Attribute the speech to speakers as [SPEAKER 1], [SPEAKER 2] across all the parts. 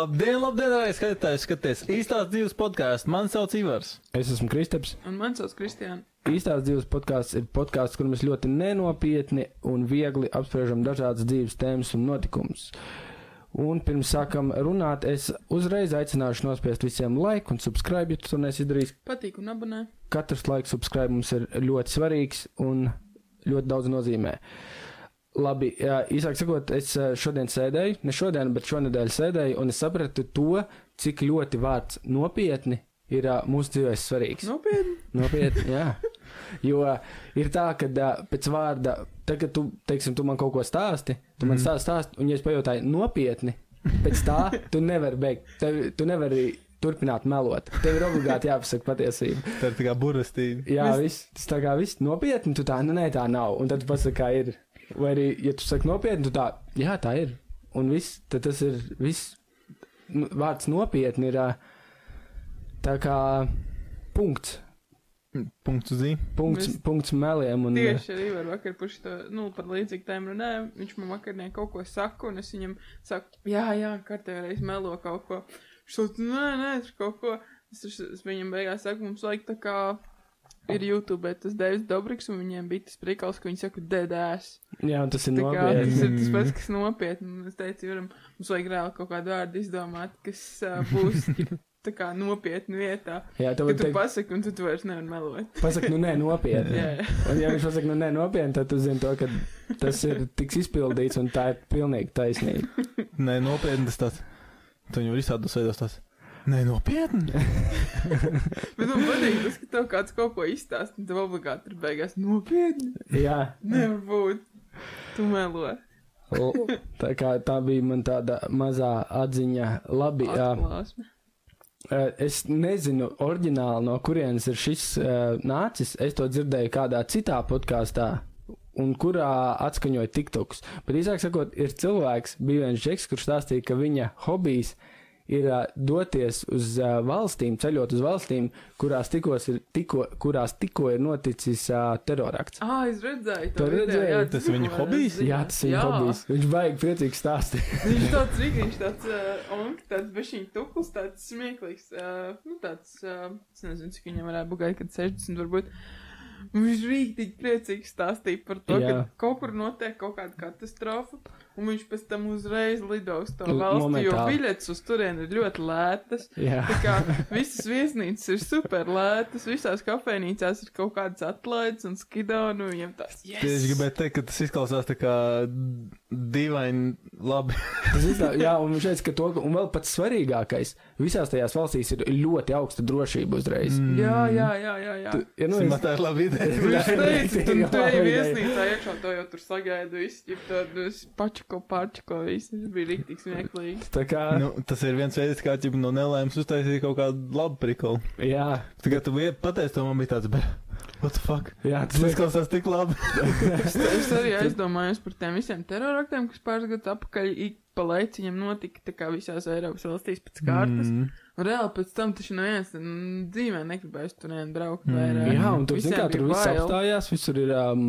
[SPEAKER 1] Labdien, labdien, arī skatītāji! Skaties, īstās dzīves podkāsts. Mani sauc Ivars.
[SPEAKER 2] Es esmu Kristaps.
[SPEAKER 3] Un man sauc Kristiāna.
[SPEAKER 2] Īstās dzīves podkāsts ir podkāsts, kur mēs ļoti nenopietni un viegli apspriežam dažādas dzīves tēmas un notikumus. Un pirms sākam runāt, es uzreiz aicināšu nospiest visiem laiku un subscribe, ja tu to nesi darījis.
[SPEAKER 3] Patīk un abonē.
[SPEAKER 2] Katrs laiks subscribe mums ir ļoti svarīgs un ļoti daudz nozīmē. Labi, jā, īsāk sakot, es ā, šodien sēdēju, ne šodien, bet šonadēļ sēdēju, un es sapratu to, cik ļoti vārds nopietni ir ā, mūsu dzīvēs
[SPEAKER 3] Nu,
[SPEAKER 2] svarīgs.
[SPEAKER 3] Nopietni.
[SPEAKER 2] Nopietni, jā. Jo ir tā, ka pēc vārda, tad, kad tu, teiksim, tu man kaut ko stāsti, tu man stāsti, stāsti, un ja es pajautāju nopietni, pēc tā tu nevari beigt, tev, tu nevari turpināt melot. Tev ir obligāti jāpasaka patiesība.
[SPEAKER 1] Tā ir tā kā burvestība.
[SPEAKER 2] Jā, viss, tas tā kā viss nopietni, tu tā, nu nē, tā nav. Un tad tu pasaki, kā ir. Vai arī, ja tu saki nopietni, tu tā, jā, tā ir. Un viss, tad tas ir, viss, nu, vārds nopietni ir ā, tā kā punkts.
[SPEAKER 1] Punkts uz zīmēm.
[SPEAKER 2] Punkts,
[SPEAKER 3] Mēs-
[SPEAKER 2] punkts meliem un
[SPEAKER 3] Tieši arī var vakar puši to, nu, par līdzīgu tēmu runājām. Viņš man vakarnē kaut ko saka, un es viņam saku, jā, jā, kārtējā reiz melo kaut ko. Viņš saka, nē, nē, tur kaut ko. Es, es, es viņam beigās saku, mums vajag tā kā ir YouTube, tas Deivs Dobriks, un viņiem bija tas prikals, ka viņi saka, dedēs.
[SPEAKER 2] Jā, un tas ir
[SPEAKER 3] Tā kā tas
[SPEAKER 2] nopietni.
[SPEAKER 3] ir tas pats, kas nopietni. Un Es teicu, Juram, mums vajag reāli kaut kādu vārdu izdomāt, kas uh, būs tā kā nopietni vietā.
[SPEAKER 2] Jā, tev
[SPEAKER 3] Kad
[SPEAKER 2] vajag
[SPEAKER 3] tu
[SPEAKER 2] teikt,
[SPEAKER 3] pasaki, un tu, tu vairs nevari melot.
[SPEAKER 2] pasaka, nu nē, nopietni.
[SPEAKER 3] Jā,
[SPEAKER 2] Un ja viņš pasaka, nu nē, nopietni, tad tu zini to, ka tas ir tiks izpildīts un tā ir pilnīgi taisnība.
[SPEAKER 1] Nē, nopietni tas tāds. Tu viņu visādos veidos tās. Nē, nopietni.
[SPEAKER 3] bet man patīk tas, ka tev kāds kaut ko izstāst, un tev obligāti ir beigās nopietni.
[SPEAKER 2] Jā,
[SPEAKER 3] Nevar būt. Tu melo.
[SPEAKER 2] L- tā kā tā bija man tāda mazā atziņa. Labi, jā.
[SPEAKER 3] Atklāsme.
[SPEAKER 2] Eh, Es nezinu, oriģināli no kurienes ir šis eh, nācis. Es to dzirdēju kādā citā podkāstā. Un kurā atskaņoja TikToks. Bet īsāk sakot, ir cilvēks, bija viens džeks, kurš stāstīja, ka viņa hobijs ir uh, doties uz uh, valstīm, ceļot uz valstīm, kurās tikko ir, tiko, kurās tikko ir noticis uh, terorakts.
[SPEAKER 3] Ā, es redzēju,
[SPEAKER 2] Tu
[SPEAKER 3] to video,
[SPEAKER 2] redzēji?
[SPEAKER 3] jā,
[SPEAKER 1] Tas viņa
[SPEAKER 3] tikko
[SPEAKER 1] hobijs?
[SPEAKER 3] redzēju.
[SPEAKER 2] Jā, tas ir viņa hobijs. Viņš baigi priecīgi stāstīja.
[SPEAKER 3] Viņš tāds rīkņš, tāds uh, onks, tāds bešķiņ tukls, tāds smieklīgs. Uh, nu, tāds, uh, es nezinu, cik viņam varētu būt gaita, kad 60 varbūt. Un Viņš rīktīgi priecīgi stāstīja par to,
[SPEAKER 2] Jā.
[SPEAKER 3] ka kaut kur notiek kaut kāda katastrofa, un viņš pēc tam uzreiz lido uz to
[SPEAKER 2] L-
[SPEAKER 3] valsti, jo
[SPEAKER 2] momentāli.
[SPEAKER 3] biļetes uz turieni ir ļoti lētas.
[SPEAKER 2] Jā,
[SPEAKER 3] Tā kā visas viesnīcas ir super lētas, visās kafejnīcās ir kaut kādas atlaides un skidoni, un viņam tāds yes!
[SPEAKER 1] Tieši gribēju teikt, ka tas izklausās tā kā dīvaini labi.
[SPEAKER 2] Tas ir tā, jā, un viņš teica, ka to, un vēl pats svarīgākais, visās tajās valstīs ir ļoti augsta drošība uzreiz. Mm.
[SPEAKER 3] Jā, jā, jā, jā. jā.
[SPEAKER 2] Ja, nu,
[SPEAKER 1] Simā,
[SPEAKER 2] es,
[SPEAKER 1] tā ir laba ideja.
[SPEAKER 3] Viņš teica, tu
[SPEAKER 2] Jā,
[SPEAKER 3] tur
[SPEAKER 2] jā.
[SPEAKER 3] bija viesnīcā iekšā, to jau tur sagaida visi, ja nu, tādu pačko, pačko, visi Tas bija rīktīgi smieklīgi.
[SPEAKER 2] tā kā, nu,
[SPEAKER 1] Nu, tas ir viens veids, kā ķip no nelaimes uztaisīt kaut kādu labu prikalu.
[SPEAKER 2] jā,
[SPEAKER 1] Tagad tu vie- pateici, to man bija tāds, bet what the fuck?
[SPEAKER 2] jā,
[SPEAKER 1] Tas
[SPEAKER 2] tas ir
[SPEAKER 1] izklausās tik labi.
[SPEAKER 3] Es, es arī aizdomājos par tiem visiem teroraktiem, kas pāris gadus atpakaļ ik pa laiciņam notika tā kā visās Eiropas valstīs pēc kārtas. Mm.
[SPEAKER 1] Mm.
[SPEAKER 3] Un reāli pēc tam taču neviens mm, dzīvē negribēs tur nevienu braukt
[SPEAKER 1] Mm.
[SPEAKER 3] vairāk.
[SPEAKER 2] Jā, un tur,
[SPEAKER 3] Visiem
[SPEAKER 2] zini, kā tur
[SPEAKER 3] bija
[SPEAKER 2] viss
[SPEAKER 3] bail.
[SPEAKER 2] apstājās, visur ir, um,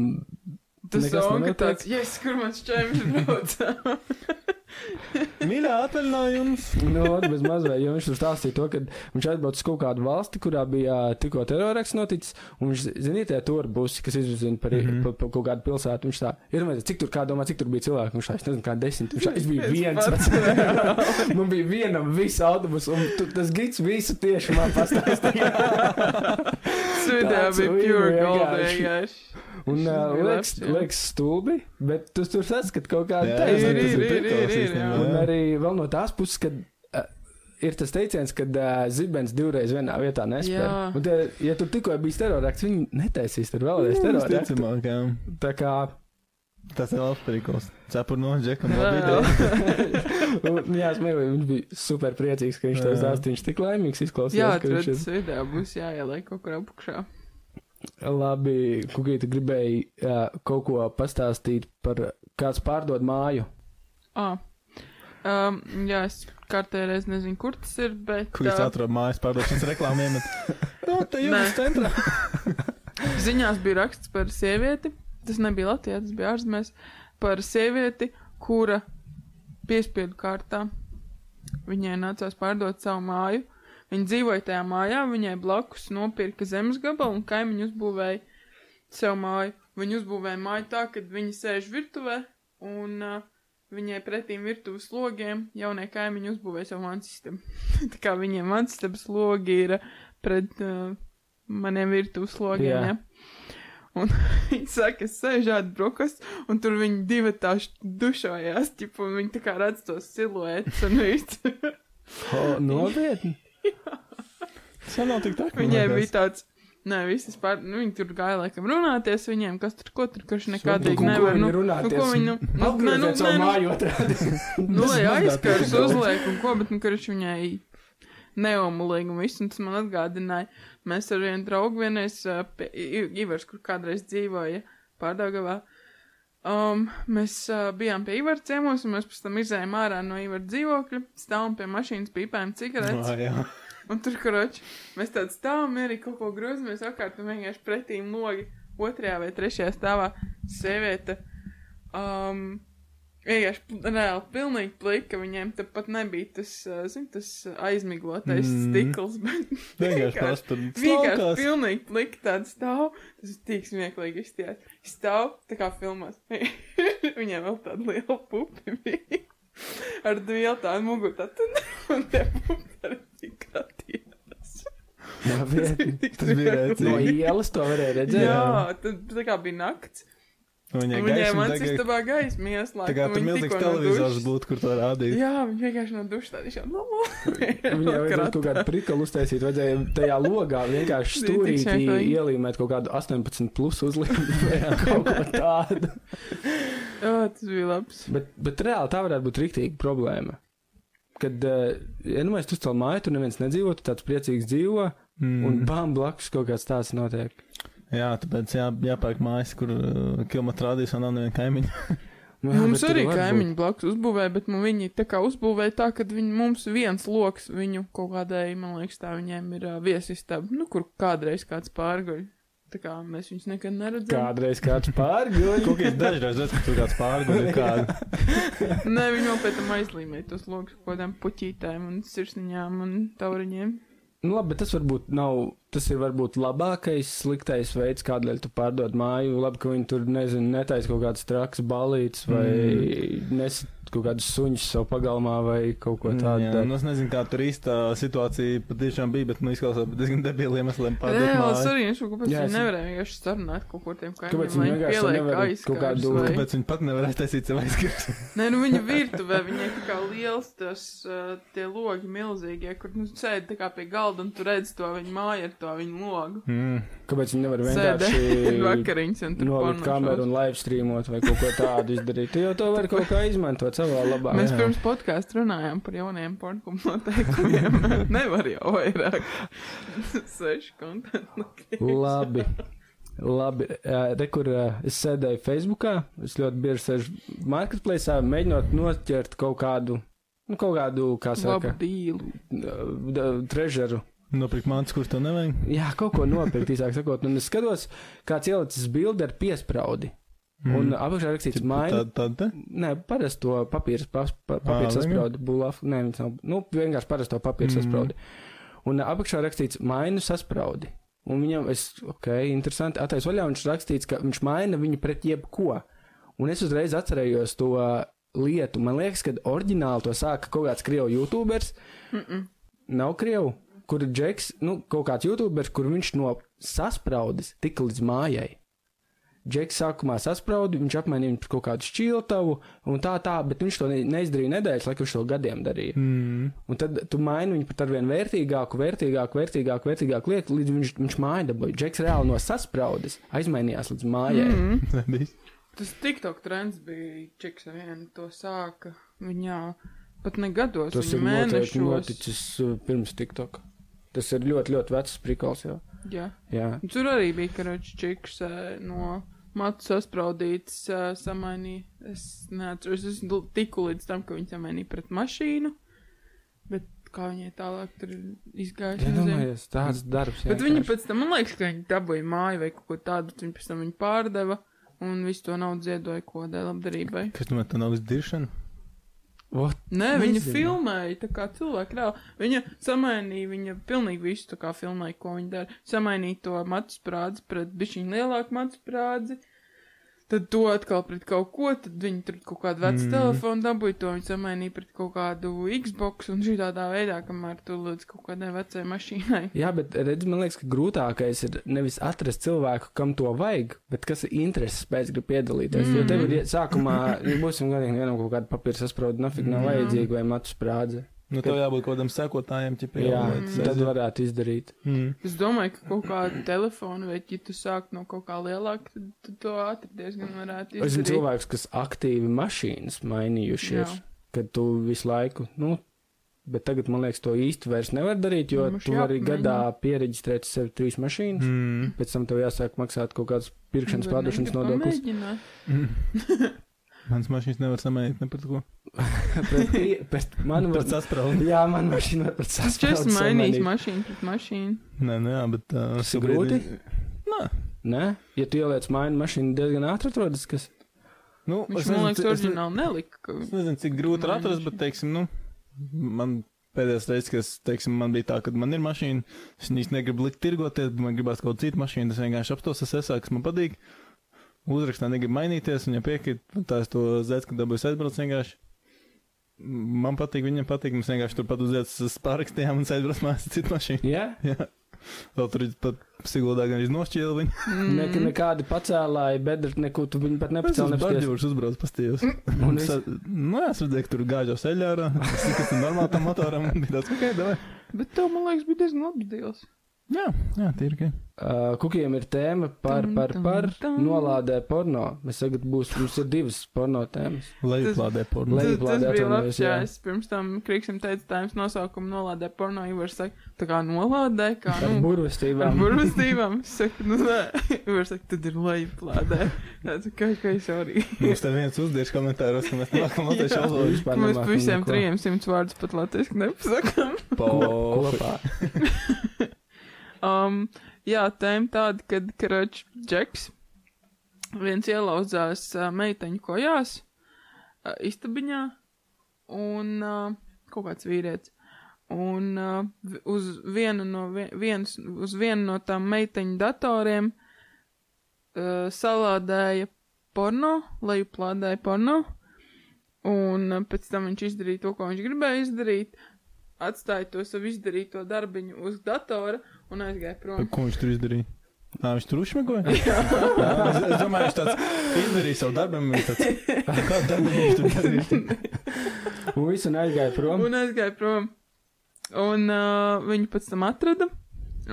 [SPEAKER 3] Tas
[SPEAKER 2] nekas
[SPEAKER 3] onka
[SPEAKER 2] nenotiek.
[SPEAKER 3] tāds, yes, kur mans čēmis brauc.
[SPEAKER 1] Mīļā atvaļinājums!
[SPEAKER 2] nu, ot, bez mazvē, jo viņš tur stāstīja to, ka viņš atbrauc uz kaut kādu valsti, kurā bija ā, tikko teroraks noticis, un viņš, ziniet, tie tur būs, kas izzina par, mm
[SPEAKER 1] Mhm.
[SPEAKER 2] -hmm. par, par kaut kādu pilsētu, viņš tā, ir, vai, cik tur, kā domā, cik tur bija cilvēku, viņš tā, es nezinu, kā desmit, viņš tā, es biju
[SPEAKER 3] Es
[SPEAKER 2] viens.
[SPEAKER 3] pats.
[SPEAKER 2] Man bija viena visa autobusa, un tu, tas gids visu tieši man pastāstīja.
[SPEAKER 3] Svidējā
[SPEAKER 2] Tāds
[SPEAKER 3] bija
[SPEAKER 2] vīru
[SPEAKER 3] pure gold, eh,
[SPEAKER 2] vienkārši.
[SPEAKER 3] vienkārši.
[SPEAKER 2] un uh,
[SPEAKER 3] Šis bija
[SPEAKER 2] liekas,
[SPEAKER 3] labs, jā.
[SPEAKER 2] liekas stulbi, bet tu tur saskat kaut kādu
[SPEAKER 1] Jā,
[SPEAKER 3] ir,
[SPEAKER 2] taisnību.
[SPEAKER 3] ir,
[SPEAKER 1] tas
[SPEAKER 3] ir, ir, ir,
[SPEAKER 1] īstenībā,
[SPEAKER 3] jā.
[SPEAKER 2] Un
[SPEAKER 1] jā.
[SPEAKER 2] arī vēl no tās puses, kad uh, ir tas teiciens, ka uh, zibens divreiz vienā vietā nespēja.
[SPEAKER 3] Jā.
[SPEAKER 2] Un, te, ja tur tikko bija terorakts, viņi netaisīs tur vēlreiz
[SPEAKER 1] Jā,
[SPEAKER 2] teroraktu.
[SPEAKER 1] visticamāk, jā.
[SPEAKER 2] Tā kā,
[SPEAKER 1] Tas ir labs perikls. Cepur no Džekam.
[SPEAKER 3] Vēl.
[SPEAKER 1] labi ideja.
[SPEAKER 2] un, nu, jā, smēķis, viņš bija super priecīgs, ka viņš to
[SPEAKER 1] Jā.
[SPEAKER 2] stāstīja. Viņš tik laimīgs izklausījās.
[SPEAKER 3] Jā,
[SPEAKER 2] ka viņš ir-
[SPEAKER 3] atrodas video, būs jāieliek kaut kur apakšā.
[SPEAKER 2] Labi, Kukai, tu gribēji uh, kaut ko pastāstīt par kāds pārdod māju.
[SPEAKER 3] Ah. Um, jā, es kārtē reiz nezinu, kur tas ir, bet
[SPEAKER 1] Kur jūs
[SPEAKER 3] ā,
[SPEAKER 1] atrodat mājas pārdošanas reklāmiem? No, Nu, te jūras
[SPEAKER 3] Nē.
[SPEAKER 1] centrā.
[SPEAKER 3] ziņās bija raksts par sievieti, tas nebija Latvijā, tas bija ārzemēs, par sievieti, kura piespiedu kārtā Viņai nācās pārdot savu māju. Viņa dzīvoja tajā mājā, viņai blakus nopirka zemes gabalu un kaimiņu uzbūvēja sev māju. Viņa uzbūvēja māju tā, ka viņa sēž virtuvē un uh, viņai pretīm virtuves logiem jaunie kaimiņi uzbūvēja savu vansistabu. tā kā viņiem vansistabas logi ir uh, pret uh, maniem virtuves logiem.
[SPEAKER 2] Jā.
[SPEAKER 3] Yeah. Un viņi saka, es sēžu ātrāk brokastu, un tur viņi divi tādi dušojās, tipu, un viņi tā kā redz tos siluetus un visu.
[SPEAKER 2] O, Nopietni!
[SPEAKER 1] Tas nav tik tā, ka
[SPEAKER 3] Viņai bija tāds, nē, visas pār, nu, viņi tur gāja laikam runāties viņiem, kas tur ko tur, kurš nekādīgi
[SPEAKER 2] ko
[SPEAKER 3] nevar.
[SPEAKER 2] viņi
[SPEAKER 3] Nu,
[SPEAKER 2] runāties?
[SPEAKER 3] nu, ko viņi, nu, nu, nē,
[SPEAKER 2] Apgrieziet
[SPEAKER 3] nu, nē,
[SPEAKER 2] savu
[SPEAKER 3] nu,
[SPEAKER 2] māju otrādi.
[SPEAKER 3] nu, lai
[SPEAKER 1] mazgāt
[SPEAKER 3] aizskars
[SPEAKER 1] tikai
[SPEAKER 3] uzliek un ko, bet, nu, kurš viņai neomulīgi un viss, un tas man atgādināja, mēs ar vienu draugu vienreiz, ā, pie I- Ivars, kur kādreiz dzīvoja pārdagavā, um, mēs uh, bijām pie Ivara ciemos, un mēs pēc tam izējām ārā no Ivara dzīvokļa, stāvam pie mašīnas, pīpējam cigaretes.
[SPEAKER 1] Nā, nu, jā.
[SPEAKER 3] Un tur, kurš mēs tādā stāvam, arī kaut ko grozamies apkārt, un vienkārši pretīm logi otrajā vai trešajā stāvā sieviete. Um, Vienkārši pl- reāli pilnīgi plika, viņiem te pat nebija tas, uh, zin, tas uh, aizmiglotais mm.
[SPEAKER 1] Mm.
[SPEAKER 3] stikls, bet
[SPEAKER 1] Vienkārši tās tur
[SPEAKER 3] vienkārši
[SPEAKER 1] slaukās.
[SPEAKER 3] pilnīgi plika tāds stāv, tas ir tik smieklīgi izties. Stāv, tā kā filmās. viņiem vēl tāda liela pupi bija. Ar dvielu tādu muguru tādu, un tie pupi arī tik krātījās.
[SPEAKER 2] Nopietni!
[SPEAKER 1] Tas bija
[SPEAKER 2] No
[SPEAKER 1] rēcīgi.
[SPEAKER 2] ielas to varēja redzēt.
[SPEAKER 3] Jā, tad tā kā bija nakts.
[SPEAKER 1] Viņai
[SPEAKER 3] Un Viņai
[SPEAKER 1] gaisma
[SPEAKER 3] man
[SPEAKER 1] tagad.
[SPEAKER 3] sistabā gaisa mieslā.
[SPEAKER 1] Tā kā tur milzīgs televizors būtu, kur to rādīt.
[SPEAKER 3] Jā, viņi vienkārši no dušas tādi šādi.
[SPEAKER 2] Viņai vajadzēja kaut kādu prikalu uztaisīt, vajadzēja tajā logā vienkārši
[SPEAKER 3] Bija tik
[SPEAKER 2] stūrītī
[SPEAKER 3] smieklīgi.
[SPEAKER 2] ielīmēt kaut kādu 18 plus uzlikumu vai kaut ko tādu.
[SPEAKER 3] Jā, tas bija labs.
[SPEAKER 2] Bet, bet reāli tā varētu būt rīktīva problēma. Kad, eh, ja nu mēs tur stāvam mājā, tur neviens nedzīvo, tu tāds priecīgs dzīvo, mm. un
[SPEAKER 3] Mhm.
[SPEAKER 1] Mm.
[SPEAKER 2] bam, blakus kaut kāds tāds notiek.
[SPEAKER 1] Jā, tāpēc jā, jāpērk mājas, kur uh, kilometrā rādīs un nav neviena kaimiņa.
[SPEAKER 2] Nu, jā,
[SPEAKER 3] Jā, mums
[SPEAKER 2] bet tur
[SPEAKER 3] arī
[SPEAKER 2] var
[SPEAKER 3] kaimiņi blakus uzbūvēja, bet nu, viņi tā kā uzbūvēja tā, ka viņi mums viens loks viņu kaut kādai, man liekas, tā viņiem ir uh, viesistaba, nu, kur kādreiz kāds pārguļ. Tā kā mēs viņus nekad
[SPEAKER 2] būt
[SPEAKER 3] neredzam.
[SPEAKER 2] Kādreiz kāds pārgājis.
[SPEAKER 1] Kaut kāds dažreiz redz, ka tur kāds pārgāja kādu.
[SPEAKER 3] Nē, viņi jau pēc tam aizlīmēja tos lokus kaut kādām puķītēm un sirsniņām un tauriņiem.
[SPEAKER 2] Nu, labi, bet tas varbūt nav, tas ir varbūt labākais, sliktais veids, kādēļ tu pārdod māju. Labi, ka viņi tur, nezinu, netais kaut kādas traks balītas vai mm. nes kaut kādus suņus savu pagalmā vai kaut ko tādu.
[SPEAKER 1] Jā, nu es nezinu, kā tur īstā situācija patiešām bija, bet nu izklausās par diezgan debiliem iemesliem
[SPEAKER 3] Nē, es
[SPEAKER 1] pārdot. māju.
[SPEAKER 3] arī viņš kaut kāpēc
[SPEAKER 2] Jā,
[SPEAKER 3] viņi
[SPEAKER 2] es-
[SPEAKER 3] nevarēja vienkārši sarunāt kaut kur tiem kaimiņiem.
[SPEAKER 2] Kāpēc viņi
[SPEAKER 3] lai
[SPEAKER 2] vienkārši
[SPEAKER 3] pieliek
[SPEAKER 2] nevarēja
[SPEAKER 3] aizkārs
[SPEAKER 2] kaut kādu-
[SPEAKER 3] vai-
[SPEAKER 1] Kāpēc viņi pat nevarēja taisīt sev aizskats?
[SPEAKER 3] Nē, nu viņa virtuvē, viņai tā kā liels tas, uh, tie logi milzīgie, kur nu sēdi tā kā pie galda un tu redz to viņa māju ar to viņa logu.
[SPEAKER 1] Mm.
[SPEAKER 2] Kāpēc viņi nevar
[SPEAKER 3] Sēdi
[SPEAKER 2] vienkārši
[SPEAKER 3] vakariņas un tur
[SPEAKER 2] nolikt kameru
[SPEAKER 3] pornošos.
[SPEAKER 2] un live streamot vai kaut ko tādu izdarīt? Tu jau to var kaut kā izmantot savā labā.
[SPEAKER 3] Mēs
[SPEAKER 1] jā.
[SPEAKER 3] pirms podkāstu runājām par jauniem pornogrāfiem noteikumiem. Nevar jau vairāk. Seši kontakti.
[SPEAKER 2] Labi. Labi, rekur, es sēdēju Facebookā, es ļoti bieži sēžu marketplaceā, mēģinot noķert kaut kādu, nu, kaut kādu, kā saka,
[SPEAKER 3] Labu dīlu.
[SPEAKER 2] d- trežeru.
[SPEAKER 1] Nopirkt mātes, kurš to nevajag.
[SPEAKER 2] Jā, kaut ko nopirkt, īsāk sakot, un es skatos, kāds ielicis bildi ar piespraudi, mm. un apakšā rakstīts maina.
[SPEAKER 1] Tāda, tāda.
[SPEAKER 2] Nē, parasto papīra, pas, pa,
[SPEAKER 1] Ā,
[SPEAKER 2] papīra
[SPEAKER 1] viņa?
[SPEAKER 2] sasprādu, bulāfu. Nē, viņš nav. Nu, vienkārši parasto papīra mm. sasprādu. Un ā, apakšā rakstīts mainu sasprādi. Un viņam, es, ok, interesanti, attais vaļā, un viņš rakstīts, ka viņš maina viņu pret jebko. Un es uzreiz atcerējos to lietu. Man liekas, ka oriģināli to sāka kaut kāds krievu youtubers. Mm -mm. Nav krievu, kur ir džeks, nu, kaut kāds youtubers, kur viņš no sasprādes tik līdz mājai. Džeks sākumā sasprāda, viņš apmainīja viņu par kaut kādu šķiltavu, un tā, tā, bet viņš to ne- neizdarīja nedēļas, laikam viņš to gadiem darīja.
[SPEAKER 1] Mm.
[SPEAKER 2] Un tad tu maini viņu pat ar vien vērtīgāku, vērtīgāku, vērtīgāku, vērtīgāku lietu, līdz viņš, viņš māja dabūja. Džeks reāli no sasprādes aizmainījās līdz mājai. Mm.
[SPEAKER 1] nebija.
[SPEAKER 3] Tas TikTok trends bija čiks, viena to sāka. Viņā pat ne gados,
[SPEAKER 2] Tas
[SPEAKER 3] viņa
[SPEAKER 2] ir noteikti
[SPEAKER 3] mēnešos.
[SPEAKER 2] noticis uh, pirms TikTok. Tas ir ļoti, ļoti vecs prikals jau.
[SPEAKER 3] Jā.
[SPEAKER 2] Jā.
[SPEAKER 3] Un Tur arī bija karoči čiks eh, no matu saspraudīts, eh, samainīja. Es neatceros, es l- tiku līdz tam, ka viņi samainīja pret mašīnu. Bet kā viņai tālāk tur izgāja? es nezinu.
[SPEAKER 2] Iedomājies, tāds darbs.
[SPEAKER 3] Bet viņi pēc tam, man liekas, ka viņi dabūja māju vai kaut ko tādu, tad viņi pēc tam viņu pārdeva un visu to naudu ziedoja kodai labdarībai.
[SPEAKER 1] Kas tomēr tā nav uzdiršana?
[SPEAKER 2] What?
[SPEAKER 3] Nē, viņa
[SPEAKER 2] Nezinu.
[SPEAKER 3] filmēja, tā kā cilvēki reāli. Viņa samainīja, viņa pilnīgi visu tā kā filmēja, ko viņa dara. Samainīja to matu sprādzi pret bišķiņu lielāku matu sprādzi. Tad to atkal pret kaut ko, tad viņi tur kaut kādu
[SPEAKER 2] Mhm.
[SPEAKER 3] vecu
[SPEAKER 1] Mm.
[SPEAKER 3] mm. telefonu dabūja, to viņi samainīja pret kaut kādu Xbox un šī tādā veidā, kamēr tu lūdz kaut kādai vecai mašīnai.
[SPEAKER 2] Jā, bet redz, man liekas, ka grūtākais ir nevis atrast cilvēku, kam to vajag, bet kas ir intereses pēc grib piedalīties. Mm. Jo tev ir ie- sākumā, ja būsim godīgi, vienam kaut kāda papīra sasprāda, nafik nav
[SPEAKER 1] Mm.
[SPEAKER 2] vajadzīga vai matu sprādze.
[SPEAKER 1] Nu, tev jābūt kaut kādam sekotājam, tipam,
[SPEAKER 2] Jā, Mm.
[SPEAKER 1] jau
[SPEAKER 3] tas
[SPEAKER 2] tad varētu izdarīt.
[SPEAKER 1] Mm.
[SPEAKER 3] Es domāju, ka kaut kādu telefonu, vai ja tu sāk no kaut kā lielāka, tad tu to ātri diezgan varētu
[SPEAKER 2] Es zinu
[SPEAKER 3] izdarīt.
[SPEAKER 2] cilvēkus, kas aktīvi mašīnas mainījuši ir,
[SPEAKER 3] Jā.
[SPEAKER 2] kad tu visu laiku, nu, bet tagad, man liekas, to īsti vairs nevar darīt, jo
[SPEAKER 3] Mums
[SPEAKER 2] tu vari
[SPEAKER 3] jāpamaina.
[SPEAKER 2] gadā pieregistrēt sev trīs mašīnas.
[SPEAKER 1] Mm.
[SPEAKER 2] Pēc tam tev jāsāk maksāt kaut kādas pirkšanas,
[SPEAKER 3] Bet
[SPEAKER 2] pārdošanas
[SPEAKER 3] negribu
[SPEAKER 2] nodokļus.
[SPEAKER 3] pamēģināt.
[SPEAKER 1] Mm. Mans mašīnas nevar samaitīt ne par ko.
[SPEAKER 2] Pret pie- pret manu
[SPEAKER 1] Pats asprāvu.
[SPEAKER 2] Jā, man mašīna var pat
[SPEAKER 3] Es
[SPEAKER 2] saspēlēt.
[SPEAKER 3] esmu mainījis mašīnu pret mašīnu.
[SPEAKER 1] Nē, nu jā, bet. Uh,
[SPEAKER 2] Tas ir
[SPEAKER 1] šobrīd- Nē.
[SPEAKER 2] Nē, ja tu ieliec mainu mašīnu, diezgan ātri atrodas, kas.
[SPEAKER 1] Nu,
[SPEAKER 3] Viņš
[SPEAKER 1] es
[SPEAKER 3] man
[SPEAKER 1] nezinu,
[SPEAKER 3] liekas,
[SPEAKER 1] cik- es ne-
[SPEAKER 3] oriģināli nelika. ka-
[SPEAKER 1] Es nezinu, cik grūti ir
[SPEAKER 3] Mainīt
[SPEAKER 1] atrast, bet, teiksim, nu, man pēdējais reizes, kas, teiksim, man bija tā, ka man ir mašīna, es īstenībā negribu likt tirgoties, bet man gribās kaut citu mašīnu, es vienkārši apstos, es esmu, kas man patīk. Uzrakstā negribu mainīties, un, ja piekrīt, un tā es to zēdzu, kad dabūju aizbraukt, vienkārši. Man patīk, viņam patīk, mēs vienkārši turpat uzēdz pārrakstījām un aizbraucām mājās ar citu mašīnu.
[SPEAKER 2] Jā,
[SPEAKER 1] Jā. Vēl tur ir pat psiholoģija, gan arī nošķīla viņu.
[SPEAKER 3] Mm.
[SPEAKER 2] ne, nekādi pacēlāji, bedri, neko tu viņu pat
[SPEAKER 1] Es
[SPEAKER 2] nepacēli.
[SPEAKER 1] esmu
[SPEAKER 2] nepasties.
[SPEAKER 1] barģūrs uzbrauc pastījus.
[SPEAKER 2] Un
[SPEAKER 1] Un es,
[SPEAKER 2] viss.
[SPEAKER 1] nu, es redzēju, ka tur gāžās ceļā ar tādu normālu tam motoram. un bija Tāds, okay, davai.
[SPEAKER 3] Bet tev, man liekas, bija diezgan labs dīls.
[SPEAKER 1] jā, jā, tie ir ok.
[SPEAKER 2] Ā, Kukiem ir tēma par,
[SPEAKER 3] Tum,
[SPEAKER 2] par,
[SPEAKER 3] tum,
[SPEAKER 2] par
[SPEAKER 3] tum.
[SPEAKER 2] nolādē porno. Mēs tagad būs, mums ir divas porno tēmas.
[SPEAKER 1] Lejuplādē pornu. Lej...
[SPEAKER 2] Lej-
[SPEAKER 3] Tas, tas
[SPEAKER 2] plādē
[SPEAKER 3] bija labs,
[SPEAKER 2] atvainojos,
[SPEAKER 3] jā.
[SPEAKER 2] jā.
[SPEAKER 3] Es pirms tam Kriksim teicu, tā jums nosaukumu nolādē porno, Ivars saka, tā kā nolādē, kā,
[SPEAKER 2] Ar
[SPEAKER 3] nu, ar
[SPEAKER 2] burvestībām.
[SPEAKER 3] burvestībām. Es saku, nu, nē. Ivars saka, tad ir lejuplādē. Tāds, kā, kā es arī.
[SPEAKER 1] Mums te viens uzdiež komentāros, ka mēs nākam
[SPEAKER 3] Jā.
[SPEAKER 1] atvešu uzlūdzu.
[SPEAKER 2] Vispār
[SPEAKER 3] Mēs
[SPEAKER 2] nemākam
[SPEAKER 3] pa visiem
[SPEAKER 2] neko.
[SPEAKER 3] trijiem simts vārdus pat latviešu nepasakām.
[SPEAKER 2] kopā.
[SPEAKER 3] Um, jā, tēma tāda, kad Kračs Džeks viens ielauzās uh, meiteņu kojās, uh, istabiņā, un uh, kaut kāds vīrietis. Un uh, vi- uz, vienu no, vi- viens, uz vienu no tām meiteņu datoriem uh, salādēja porno, lejuplādēja porno, un uh, pēc tam viņš izdarīja to, ko viņš gribēja izdarīt, atstāja to savu izdarīto darbiņu uz datora un aizgāja prom.
[SPEAKER 1] Ko viņš tur izdarīja? Nā, viņš tur uzšmegoja? Jā. Es, es domāju, viņš tāds izdarīja savu darbu, un viņš tāds, kādu darbu viņš tur darīja?
[SPEAKER 2] Un visu aizgāja prom.
[SPEAKER 3] Un aizgāja prom. Un uh, viņu pēc tam atrada.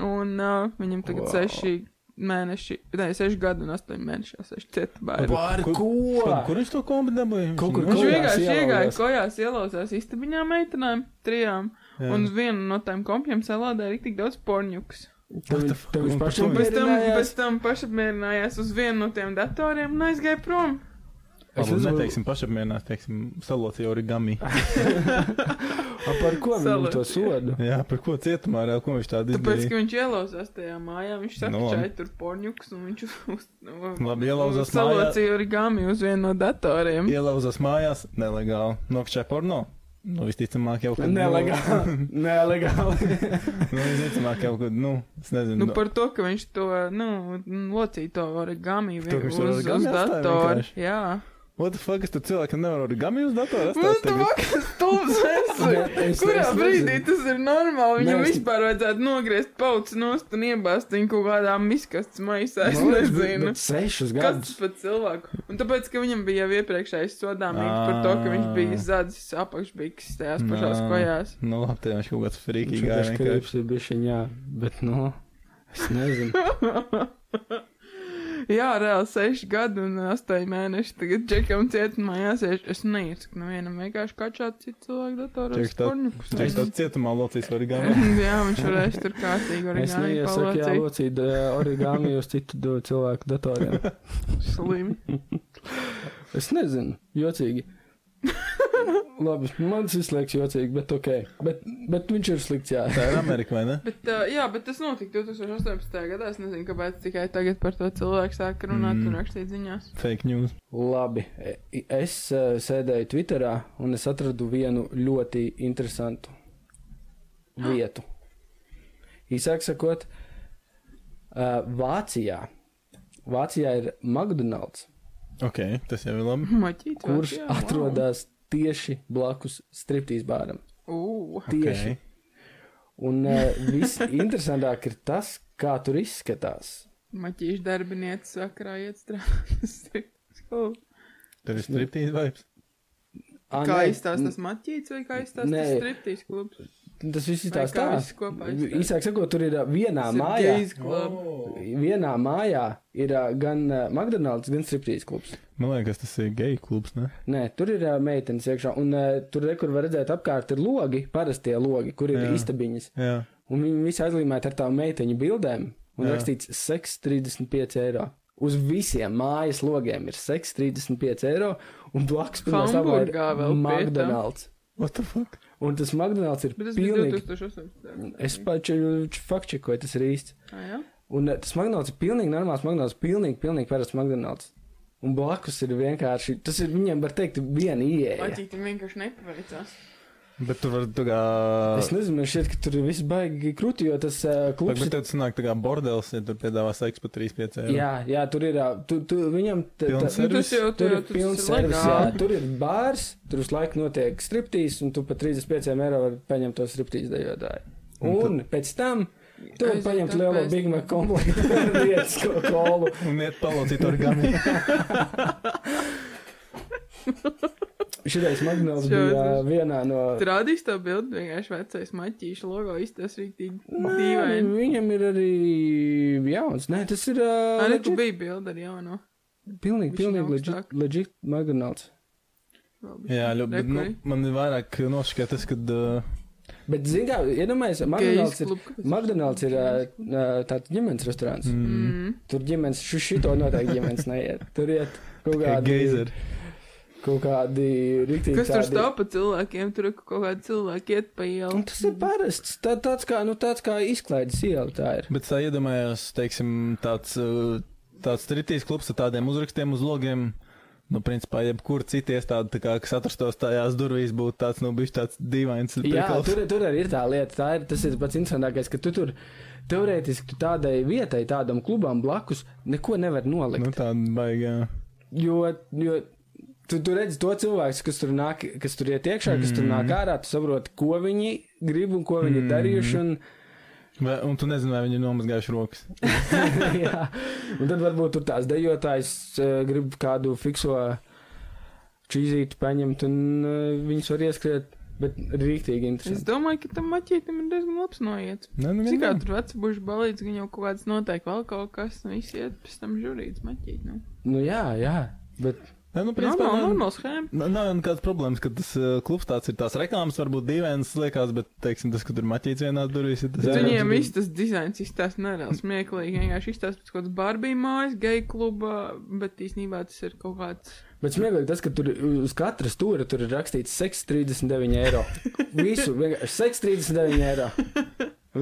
[SPEAKER 3] Un uh, viņam tagad
[SPEAKER 2] Wow.
[SPEAKER 3] wow. seši mēneši, nē, seši gadi un astoņi mēneši, jau seši
[SPEAKER 1] Nu,
[SPEAKER 3] cieti bērni.
[SPEAKER 1] Wow.
[SPEAKER 2] Par
[SPEAKER 1] Kur-
[SPEAKER 2] ko?
[SPEAKER 1] Kur viņš to kombi dabūja?
[SPEAKER 2] Kaut kur
[SPEAKER 3] Viņš
[SPEAKER 2] Kojās
[SPEAKER 3] vienkārši iegāja
[SPEAKER 2] ielauzās.
[SPEAKER 3] kojās, ielauzās istabiņā meitenēm, trijām, jā. un uz vienu no tām kompjām salādēja tik daudz porņuks.
[SPEAKER 2] Tev,
[SPEAKER 1] the fuck?
[SPEAKER 2] tev viņš
[SPEAKER 1] Un par
[SPEAKER 2] pašam
[SPEAKER 1] to
[SPEAKER 3] Pēc tam,
[SPEAKER 2] pieredzinājās?
[SPEAKER 3] pēc tam pašapmierinājās uz vienu no tiem datoriem un aizgāja prom.
[SPEAKER 1] Es
[SPEAKER 2] uzvaru-
[SPEAKER 1] neteiksim pašapmierināt, teiksim, salocīju origami.
[SPEAKER 2] A, par ko viņam
[SPEAKER 3] Salaki.
[SPEAKER 2] to sodu?
[SPEAKER 1] Jā, par ko cietumā, ar ko viņš tādu
[SPEAKER 3] Tāpēc,
[SPEAKER 1] izdarīja?
[SPEAKER 3] ka viņš ielauzās tajā mājā, viņš saka,
[SPEAKER 1] Nu,
[SPEAKER 3] ka
[SPEAKER 1] labi.
[SPEAKER 3] čai tur porņuks, un viņš uz, uz,
[SPEAKER 1] Labi, ielauzās mājā.
[SPEAKER 3] salocīja origami uz vienu no datoriem.
[SPEAKER 1] Ielauzās mājās, nelegāli. Nokšķē porno. Nu, visticamāk, jau kad.
[SPEAKER 2] Nelegāli. Nelegāli.
[SPEAKER 1] Nu, nu, visticamāk, jau kad, nu, es nezinu.
[SPEAKER 3] Nu, par to, ka viņš to, nu, locīja to origami
[SPEAKER 1] Par to, ka
[SPEAKER 3] vien-
[SPEAKER 1] viņš to
[SPEAKER 3] uz,
[SPEAKER 1] origami
[SPEAKER 3] uz
[SPEAKER 1] atstāja
[SPEAKER 3] datoru.
[SPEAKER 1] vienkārši?
[SPEAKER 3] Jā.
[SPEAKER 1] What the fuck, es tur cilvēkam nevaru origami uz datora?
[SPEAKER 3] What the fuck, kas stulbs
[SPEAKER 2] Ne,
[SPEAKER 3] esi?
[SPEAKER 2] es-
[SPEAKER 3] Kurā
[SPEAKER 2] es
[SPEAKER 3] brīdī
[SPEAKER 2] nezinu.
[SPEAKER 3] tas ir normāli? Viņam
[SPEAKER 2] Ne, es-
[SPEAKER 3] vispār vajadzētu nogriezt pauci nost un iebāzt viņu kaut kādā miskastas maisā, es
[SPEAKER 2] Man liekas, bet-
[SPEAKER 3] nezinu.
[SPEAKER 2] bet Sešus
[SPEAKER 3] Kas tas
[SPEAKER 2] gadus.
[SPEAKER 3] par cilvēku? Un tāpēc, ka viņam bija jau iepriekšējais sodāmības par to, ka viņš bija zadzis apakšbiks tajās pašās
[SPEAKER 1] Ah. Nā.
[SPEAKER 3] kojās.
[SPEAKER 1] Nu, labi, tev viņš kaut kāds frīkīgi gāja.
[SPEAKER 2] Viņš ir
[SPEAKER 1] vienkārši.
[SPEAKER 2] klips, bija viņa, bet nu. Es nezinu.
[SPEAKER 3] Jā, reāli seši gadi un eh, astoņi mēneši. Tagad džekam cietumā jāsēž. Es neiesaku nevienam vienkārši kačāt citu cilvēku datoru.
[SPEAKER 1] Čeks tā- Viņš tāds cietumā locīs origami.
[SPEAKER 3] Jā, viņš varēs tur kārtīgi
[SPEAKER 2] Es
[SPEAKER 3] arī
[SPEAKER 2] neiesaku
[SPEAKER 3] palocīt.
[SPEAKER 2] jālocīt eh, origami uz citu do- cilvēku datoriem.
[SPEAKER 3] Slimi.
[SPEAKER 2] Es nezinu, jocīgi. Labi, man tas izslēgts jocīgi, bet ok. Bet, bet viņš ir slikts, jā.
[SPEAKER 1] Tā ir Amerika, vai ne?
[SPEAKER 3] Bet, uh, jā, bet tas notika 2018. gadā. Es nezinu, kāpēc tikai tagad par to cilvēku sāk runāt
[SPEAKER 1] Mm.
[SPEAKER 3] mm. un rakstīt ziņās.
[SPEAKER 1] Fake news.
[SPEAKER 2] Labi, e- es eh, sēdēju Twitterā un es atradu vienu ļoti interesantu vietu. Īsāk sakot, eh, Vācijā. Vācijā ir McDonald's,
[SPEAKER 1] Ok, tas jau ir labi.
[SPEAKER 3] Maķīt,
[SPEAKER 2] kurš atrodas tieši blakus striptīs bāram.
[SPEAKER 3] Ugh,
[SPEAKER 2] Tieši.
[SPEAKER 1] Ok.
[SPEAKER 2] Un eh, viss interesantāk ir tas, kā tur izskatās.
[SPEAKER 3] maķīšu darbinieca sakrā iet strādāt. Oh.
[SPEAKER 1] Tur ir striptīns vibes.
[SPEAKER 2] Ā,
[SPEAKER 3] Kā
[SPEAKER 2] nē,
[SPEAKER 3] izstāsta tas maķīts vai kā izstāsta tas
[SPEAKER 2] Nē.
[SPEAKER 3] striptīs klubs?
[SPEAKER 2] Tas viss ir
[SPEAKER 3] Vai
[SPEAKER 2] tāds
[SPEAKER 3] kā
[SPEAKER 2] stāsts.
[SPEAKER 3] viss kopā izstāsta?
[SPEAKER 2] Īsāk sakot, tur ir ā, vienā
[SPEAKER 3] Tas ir
[SPEAKER 2] mājā.
[SPEAKER 3] gejs klubs.
[SPEAKER 2] Vienā mājā ir ā, gan ā, McDonald's, gan striptīzes klubs.
[SPEAKER 1] Man liekas, tas ir geju klubs, ne?
[SPEAKER 2] Nē, tur ir ā, meitenes iekšā, un ā, tur, re, kur var redzēt, apkārt ir logi, parastie logi, kur ir
[SPEAKER 1] Jā.
[SPEAKER 2] istabiņas.
[SPEAKER 1] Jā.
[SPEAKER 2] Un viņi visi aizlīmēti ar tām meiteņu bildēm, un
[SPEAKER 1] Jā.
[SPEAKER 2] Jā. rakstīts seks 35 eiro. Uz visiem mājas logiem ir seks 35 eiro, un blakus pirmā stāvā ir
[SPEAKER 3] Hamburgā vēl pie tam.
[SPEAKER 2] McDonald's.
[SPEAKER 1] What the fuck?
[SPEAKER 2] Un tas McDonald's ir
[SPEAKER 3] Bet tas bija
[SPEAKER 2] pilnīgi.
[SPEAKER 3] 2018.
[SPEAKER 2] Es paču fakčekoju, tas ir īsts.
[SPEAKER 3] Ah, jā?
[SPEAKER 2] Un eh, tas magnāts ir pilnīgi normāls magnāts, pilnīgi, pilnīgi parasts magnāts. Un blakus ir vienkārši, tas ir viņiem, var teikt, viena ieeja.
[SPEAKER 3] Maķītam vienkārši nepaveicās.
[SPEAKER 1] Bet tur var tā kā.
[SPEAKER 2] Es nezinu, man šķiet, ka tur ir viss baigi krūti, jo tas uh,
[SPEAKER 1] Pag,
[SPEAKER 2] klubs
[SPEAKER 1] bet
[SPEAKER 2] ir.
[SPEAKER 1] tev tas nāk tā kā bordels, ja tur piedāvā seksu par 3-5 eiro.
[SPEAKER 2] Jā, jā, tur ir, ā, tu, tu, viņam t-
[SPEAKER 1] Pilns
[SPEAKER 2] tā-
[SPEAKER 1] servis?
[SPEAKER 3] Nu, tas jau-
[SPEAKER 2] tur
[SPEAKER 3] jau
[SPEAKER 2] ir
[SPEAKER 3] tas
[SPEAKER 2] pilns
[SPEAKER 3] ir
[SPEAKER 2] servis, jā,
[SPEAKER 3] legāli.
[SPEAKER 2] tur ir bārs, tur uz laiku notiek striptīs, un tu par 35 eiro vari paņemt to striptīs dejotāju. Un pēc tam tu vari
[SPEAKER 3] Aiziet
[SPEAKER 2] paņemt
[SPEAKER 3] tam
[SPEAKER 2] lielo
[SPEAKER 3] pēc
[SPEAKER 2] Big
[SPEAKER 3] tam.
[SPEAKER 2] Mac komplektu ar vietas kolu.
[SPEAKER 1] Un iet palocīt orgānu.
[SPEAKER 2] Šitais magnāts
[SPEAKER 3] Šo
[SPEAKER 2] bija
[SPEAKER 3] es
[SPEAKER 2] ā, vienā no.
[SPEAKER 3] Tur rādīs to bildi, vienkārši vecais maķīšu logo izstāsta rīktīgi
[SPEAKER 2] Nē, nu,
[SPEAKER 3] dīvaini.
[SPEAKER 2] Viņam ir arī jauns. Nē, tas ir. Uh,
[SPEAKER 3] Arī tu
[SPEAKER 2] legit,
[SPEAKER 3] biji bildi ar jauno.
[SPEAKER 2] pilnīgi,
[SPEAKER 3] viņš ir
[SPEAKER 2] pilnīgi
[SPEAKER 3] augstāk.
[SPEAKER 2] legit, legit McDonald's.
[SPEAKER 1] Jā, ļoti. bet, Nu, man ir vairāk nošķiet tas, kad. Uh,
[SPEAKER 2] Bet, zini, kā, iedomājies, McDonald's ir, McDonald's ir uh, uh, tāds ģimenes restorāns. Mm.
[SPEAKER 1] mm,
[SPEAKER 3] Mm.
[SPEAKER 2] Tur ģimenes, šo šito noteikti ģimenes neiet. Tur iet kaut
[SPEAKER 1] kā
[SPEAKER 2] kādi.
[SPEAKER 1] geizeri.
[SPEAKER 2] Kaut kādi rīktīgi.
[SPEAKER 3] Kas tur
[SPEAKER 2] tādi- Nu,
[SPEAKER 3] stāv pa cilvēkiem? Tur ir kaut kāda cilvēka iet pa
[SPEAKER 2] Un
[SPEAKER 3] ielu.
[SPEAKER 2] Tas ir parasts. Tā, tāds kā, nu, tāds kā izklaides iela tā ir.
[SPEAKER 1] Bet tā iedomājos, teiksim, tāds, uh, tāds tritīs klubs ar tādiem uzrakstiem uz logiem. Nu, principā, jebkur citu iestādi, tā kā, kas atrastos tajās durvīs, būtu tāds, nu, bijis tāds dīvains.
[SPEAKER 2] Jā,
[SPEAKER 1] prikals.
[SPEAKER 2] tur, tur arī ir tā lieta. Tā ir, tas ir pats interesantākais, ka tu tur teorētiski tu tādai vietai, tādam klubam blakus, neko nevar
[SPEAKER 1] Nu,
[SPEAKER 2] nolikt.
[SPEAKER 1] tā baigā.
[SPEAKER 2] Jo, jo tu, tu redz to cilvēku, kas tur nāk, kas tur iet iekšā, mm. kas tur nāk ārā, tu saproti, ko viņi grib un ko viņi mm. darījuši. Un,
[SPEAKER 1] Vai, un tu nezini, vai viņi ir nomazgājuši rokas.
[SPEAKER 2] jā, un tad varbūt tur tās dejotājs uh, grib kādu fikso čīzīti paņemt un uh, viņus var ieskriet. Bet rīktīgi
[SPEAKER 3] Es
[SPEAKER 2] interesanti.
[SPEAKER 3] domāju, ka tam maķītam ir diezgan labs noiets.
[SPEAKER 1] Nē, nu,
[SPEAKER 3] Cik
[SPEAKER 1] gan
[SPEAKER 3] kā
[SPEAKER 1] nav.
[SPEAKER 3] tur veci buši balīdz, gan jau kaut kāds noteikti vēl kaut kas, un visi iet pēc tam žurīts maķīt. Nu.
[SPEAKER 2] Nu jā, jā, bet
[SPEAKER 1] Nē, nu, principā,
[SPEAKER 3] Normāli,
[SPEAKER 1] nav-
[SPEAKER 3] normāli schēma.
[SPEAKER 1] Nav nav jau nekādas problēmas, ka tas uh, klubs tāds ir. Tās reklāmas varbūt dīvainas liekas, bet, teiksim, tas, ka tur maķīts vienā durvīs, ir tas
[SPEAKER 2] Jā,
[SPEAKER 3] Viņiem
[SPEAKER 1] tas
[SPEAKER 3] viss tas dizains izstāsta nereāli smieklīgi. Vienkārši izstāsta pēc kaut kādas Barbie mājas, geju klubā, bet īstenībā tas ir kaut kāds.
[SPEAKER 2] Bet smieklīgi tas, ka tur uz katra stūra tur ir rakstīts seks 39 eiro. Visu, vienkārši seks 39 eiro.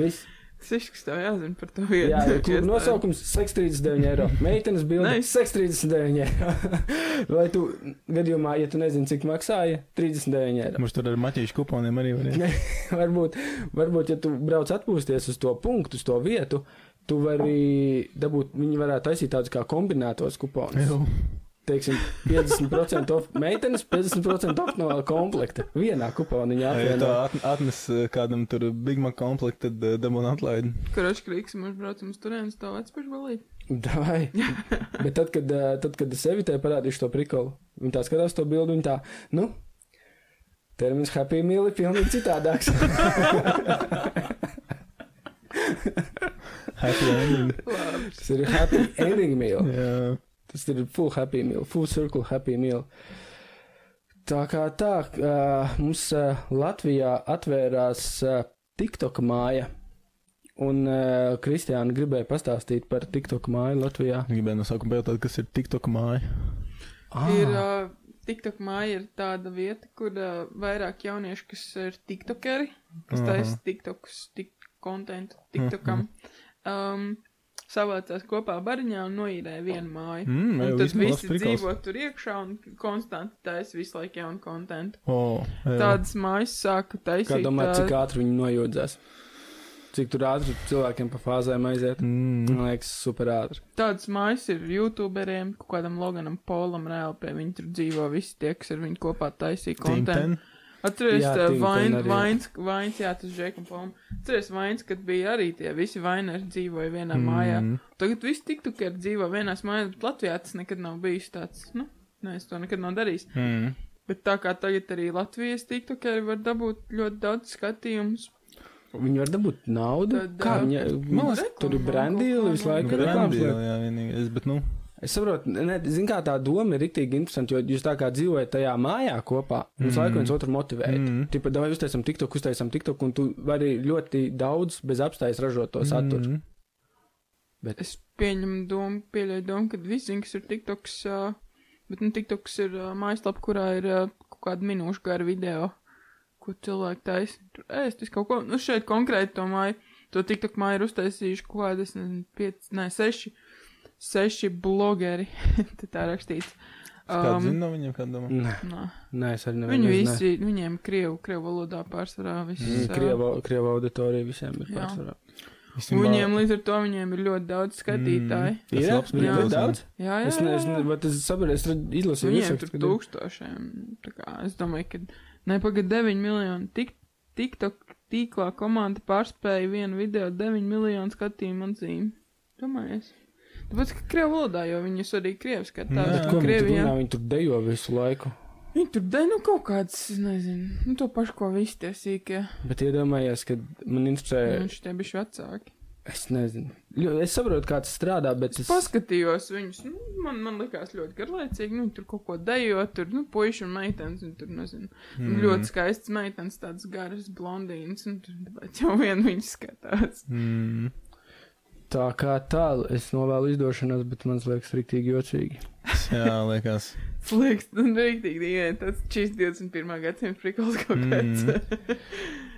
[SPEAKER 2] Viss.
[SPEAKER 3] Tas ir kas tev jāzina par to vietu.
[SPEAKER 2] Jā, kluba nosaukums - seks 39 eiro. Meitenes bilde
[SPEAKER 3] Nice.
[SPEAKER 2] - seks 39 eiro. Vai tu, gadījumā, ja tu nezini, cik maksāja, 39 eiro.
[SPEAKER 1] Mums tur ar maķīšu kuponiem arī var iet.
[SPEAKER 2] varbūt, varbūt, ja tu brauc atpūsties uz to punktu, uz to vietu, tu vari dabūt, viņi varētu taisīt tādus kā kombinētos kuponus.
[SPEAKER 1] Jū.
[SPEAKER 2] teiksim, 50% off meitenes, 50% off no komplekta. Vienā kuponiņā
[SPEAKER 1] Ja tā at-
[SPEAKER 2] apvienot.
[SPEAKER 1] atnes uh, kādam tur Big Mac komplektu, tad uh, dabūna atlaidi.
[SPEAKER 3] Kurš krīks mums braucam uz turienes, to vec pašu balīt.
[SPEAKER 2] Davai. Bet tad, kad, ā, tad, kad es evitēju parādīšu to prikalu, viņi tā skatās to bildi, viņi tā, nu, termins happy meal ir pilnīgi citādāks.
[SPEAKER 1] Happy ending.
[SPEAKER 3] Labi.
[SPEAKER 2] Tas ir happy ending meal.
[SPEAKER 1] Jā.
[SPEAKER 2] Tas ir full happy meal, full circle happy meal. Tā kā tā, ā, mums ā, Latvijā atvērās ā, TikTok māja. Un uh, Kristiāna gribēja pastāstīt par TikTok māju Latvijā.
[SPEAKER 1] Gribēju no sākuma pajautāt, kas ir TikTok māja.
[SPEAKER 2] Ah,
[SPEAKER 3] Ir uh, TikTok māja ir tāda vieta, kur uh, vairāk jaunieši, kas ir tiktokeri, kas
[SPEAKER 1] Mhm.
[SPEAKER 3] taisa tiktokus, tik kontentu tiktokam, um, savācās kopā bariņā un noīrē vienu māju.
[SPEAKER 1] Mm,
[SPEAKER 3] Un
[SPEAKER 1] jau
[SPEAKER 3] tad
[SPEAKER 1] vispār labs
[SPEAKER 3] visi
[SPEAKER 1] prikals.
[SPEAKER 3] dzīvo tur iekšā un konstanti taisa visu laiku jaunu kontentu.
[SPEAKER 1] O, jā.
[SPEAKER 3] Tādas mājas sāka taisīt.
[SPEAKER 2] Kā domā,
[SPEAKER 3] ā,
[SPEAKER 2] cik ātri viņi nojūdzās? Cik tur ātri cilvēkiem pa fāzēm aiziet?
[SPEAKER 1] Mm.
[SPEAKER 2] Man liekas, super ātri.
[SPEAKER 3] Tādas mājas ir YouTuberiem, kaut kādam Loganam Polam, reāli pie viņa tur dzīvo visi tie, kas ar viņu kopā taisīja
[SPEAKER 1] Team
[SPEAKER 3] kontekstu.
[SPEAKER 1] 10.
[SPEAKER 3] Atceries,
[SPEAKER 2] Jā,
[SPEAKER 3] tā
[SPEAKER 2] Tim
[SPEAKER 3] vain-
[SPEAKER 2] Ten arī.
[SPEAKER 3] vains, vains, jā, tas Džekam Polam. Atceries, vains, kad bija arī tie visi vaineri dzīvoja vienā mm. mājā.
[SPEAKER 1] Mm.
[SPEAKER 3] Tagad visi tiktukeri dzīvo vienās mājās, bet Latvijā tas nekad nav bijis tāds, nu, nē, es to nekad nav darījis.
[SPEAKER 1] Mm.
[SPEAKER 3] Bet tā kā tagad arī Latvijas tiktukeri var dabūt ļoti daudz skatījumus.
[SPEAKER 2] Viņi var dabūt naudu.
[SPEAKER 3] Tad,
[SPEAKER 2] Kā
[SPEAKER 3] ā,
[SPEAKER 2] viņi
[SPEAKER 1] man
[SPEAKER 2] man liekas,
[SPEAKER 3] reklāmām
[SPEAKER 2] tur ir
[SPEAKER 3] kaut
[SPEAKER 2] brandīli
[SPEAKER 3] kā,
[SPEAKER 2] visu
[SPEAKER 1] Nu,
[SPEAKER 3] nu.
[SPEAKER 2] laiku.
[SPEAKER 1] Grandi,
[SPEAKER 2] reklāmas liek.
[SPEAKER 1] jā, jā, vienīgais, bet, nu,
[SPEAKER 2] Es saprotu, ne, zin kā tā doma ir rīktīgi interesanti, jo jūs tā kā dzīvojat tajā mājā kopā, un mm. laiku viens otru motivējat. Mm.
[SPEAKER 1] Mm.
[SPEAKER 2] Tipa, davai uztaisam TikTok, uztaisam TikTok, un tu vari ļoti daudz bez apstājas ražot to saturu. Mm.
[SPEAKER 1] Mm.
[SPEAKER 3] Es pieņemu domu, pieļauju domu, ka viss zina, kas ir TikToks, ā, bet nu TikToks ir ā, mājaslapa, kurā ir ā, kaut kāda minūšu gara video, ko cilvēki taisa. Tur ēst, es kaut ko, nu šeit konkrēti to māju, to TikTok māju ir uztaisījuši kaut kādas, nezinu, pieci, nē, seši, seši blogeri, te tā rakstīts.
[SPEAKER 1] Kāds
[SPEAKER 3] Um,
[SPEAKER 1] zina no viņiem, kāda domā?
[SPEAKER 2] Nē,
[SPEAKER 3] nā.
[SPEAKER 2] nē, es arī nevienu.
[SPEAKER 3] Viņi visi, viņiem krievu, krievu valodā pārsvarā
[SPEAKER 2] Mm,
[SPEAKER 3] viss. ā,
[SPEAKER 2] Krieva auditorija visiem ir
[SPEAKER 3] Jā.
[SPEAKER 2] pārsvarā.
[SPEAKER 1] Visiem
[SPEAKER 3] Viņiem
[SPEAKER 1] vā-
[SPEAKER 3] līdz ar to viņiem ir ļoti daudz skatītāju.
[SPEAKER 1] Tas
[SPEAKER 2] Ir
[SPEAKER 1] labs
[SPEAKER 2] Viņiem ir
[SPEAKER 1] prikals, jā.
[SPEAKER 2] daudz?
[SPEAKER 3] Mm. Jā, jā.
[SPEAKER 2] Mm. Es
[SPEAKER 3] jā, jā.
[SPEAKER 2] nezinu, bet es saprotu, es redz- izlasīju
[SPEAKER 3] Viņiem Nu, tur
[SPEAKER 2] visu.
[SPEAKER 3] tūkstošiem. tā kā Es domāju, ka nu, nepagaid 9 miljoni. Tik, TikTok tīklā komanda pārspēja vienu video 9 miljonu skatījumu atzīmi. Domājies. Tāpēc, ka krievu valodā, jo viņus arī krievi skatās.
[SPEAKER 1] Bet
[SPEAKER 2] Bet
[SPEAKER 3] un
[SPEAKER 2] ko viņi tur
[SPEAKER 3] Krievijā-
[SPEAKER 2] runā? Viņi tur dejo visu laiku.
[SPEAKER 3] Viņi tur dēļ, nu kaut kāds, es nezinu, nu to pašu, ko visi tie sīkie.
[SPEAKER 2] Bet iedomājies, ka man interesē,
[SPEAKER 3] Viņš tie bišķi vecāki.
[SPEAKER 2] es nezinu. Ļo- Es saprotu, kā tas strādā, bet es.
[SPEAKER 3] Paskatījos viņus, nu, man, man likās ļoti garlaicīgi, nu, tur kaut ko dejot, tur, nu, puiši un meitenes, un tur, nezinu, Mm. Ļoti skaists meitenes, tādas garas blondīnas, un tur tāpēc jau vien viņas skatās.
[SPEAKER 1] Mm.
[SPEAKER 2] Tā kā tālu es novēlu izdošanos, bet man liekas, rīktīgi jocīgi.
[SPEAKER 1] Jā, liekas.
[SPEAKER 3] Sliks, un nu, rīktīgi dīvaini, tas šis 21. gadsimta prikals kaut kāds.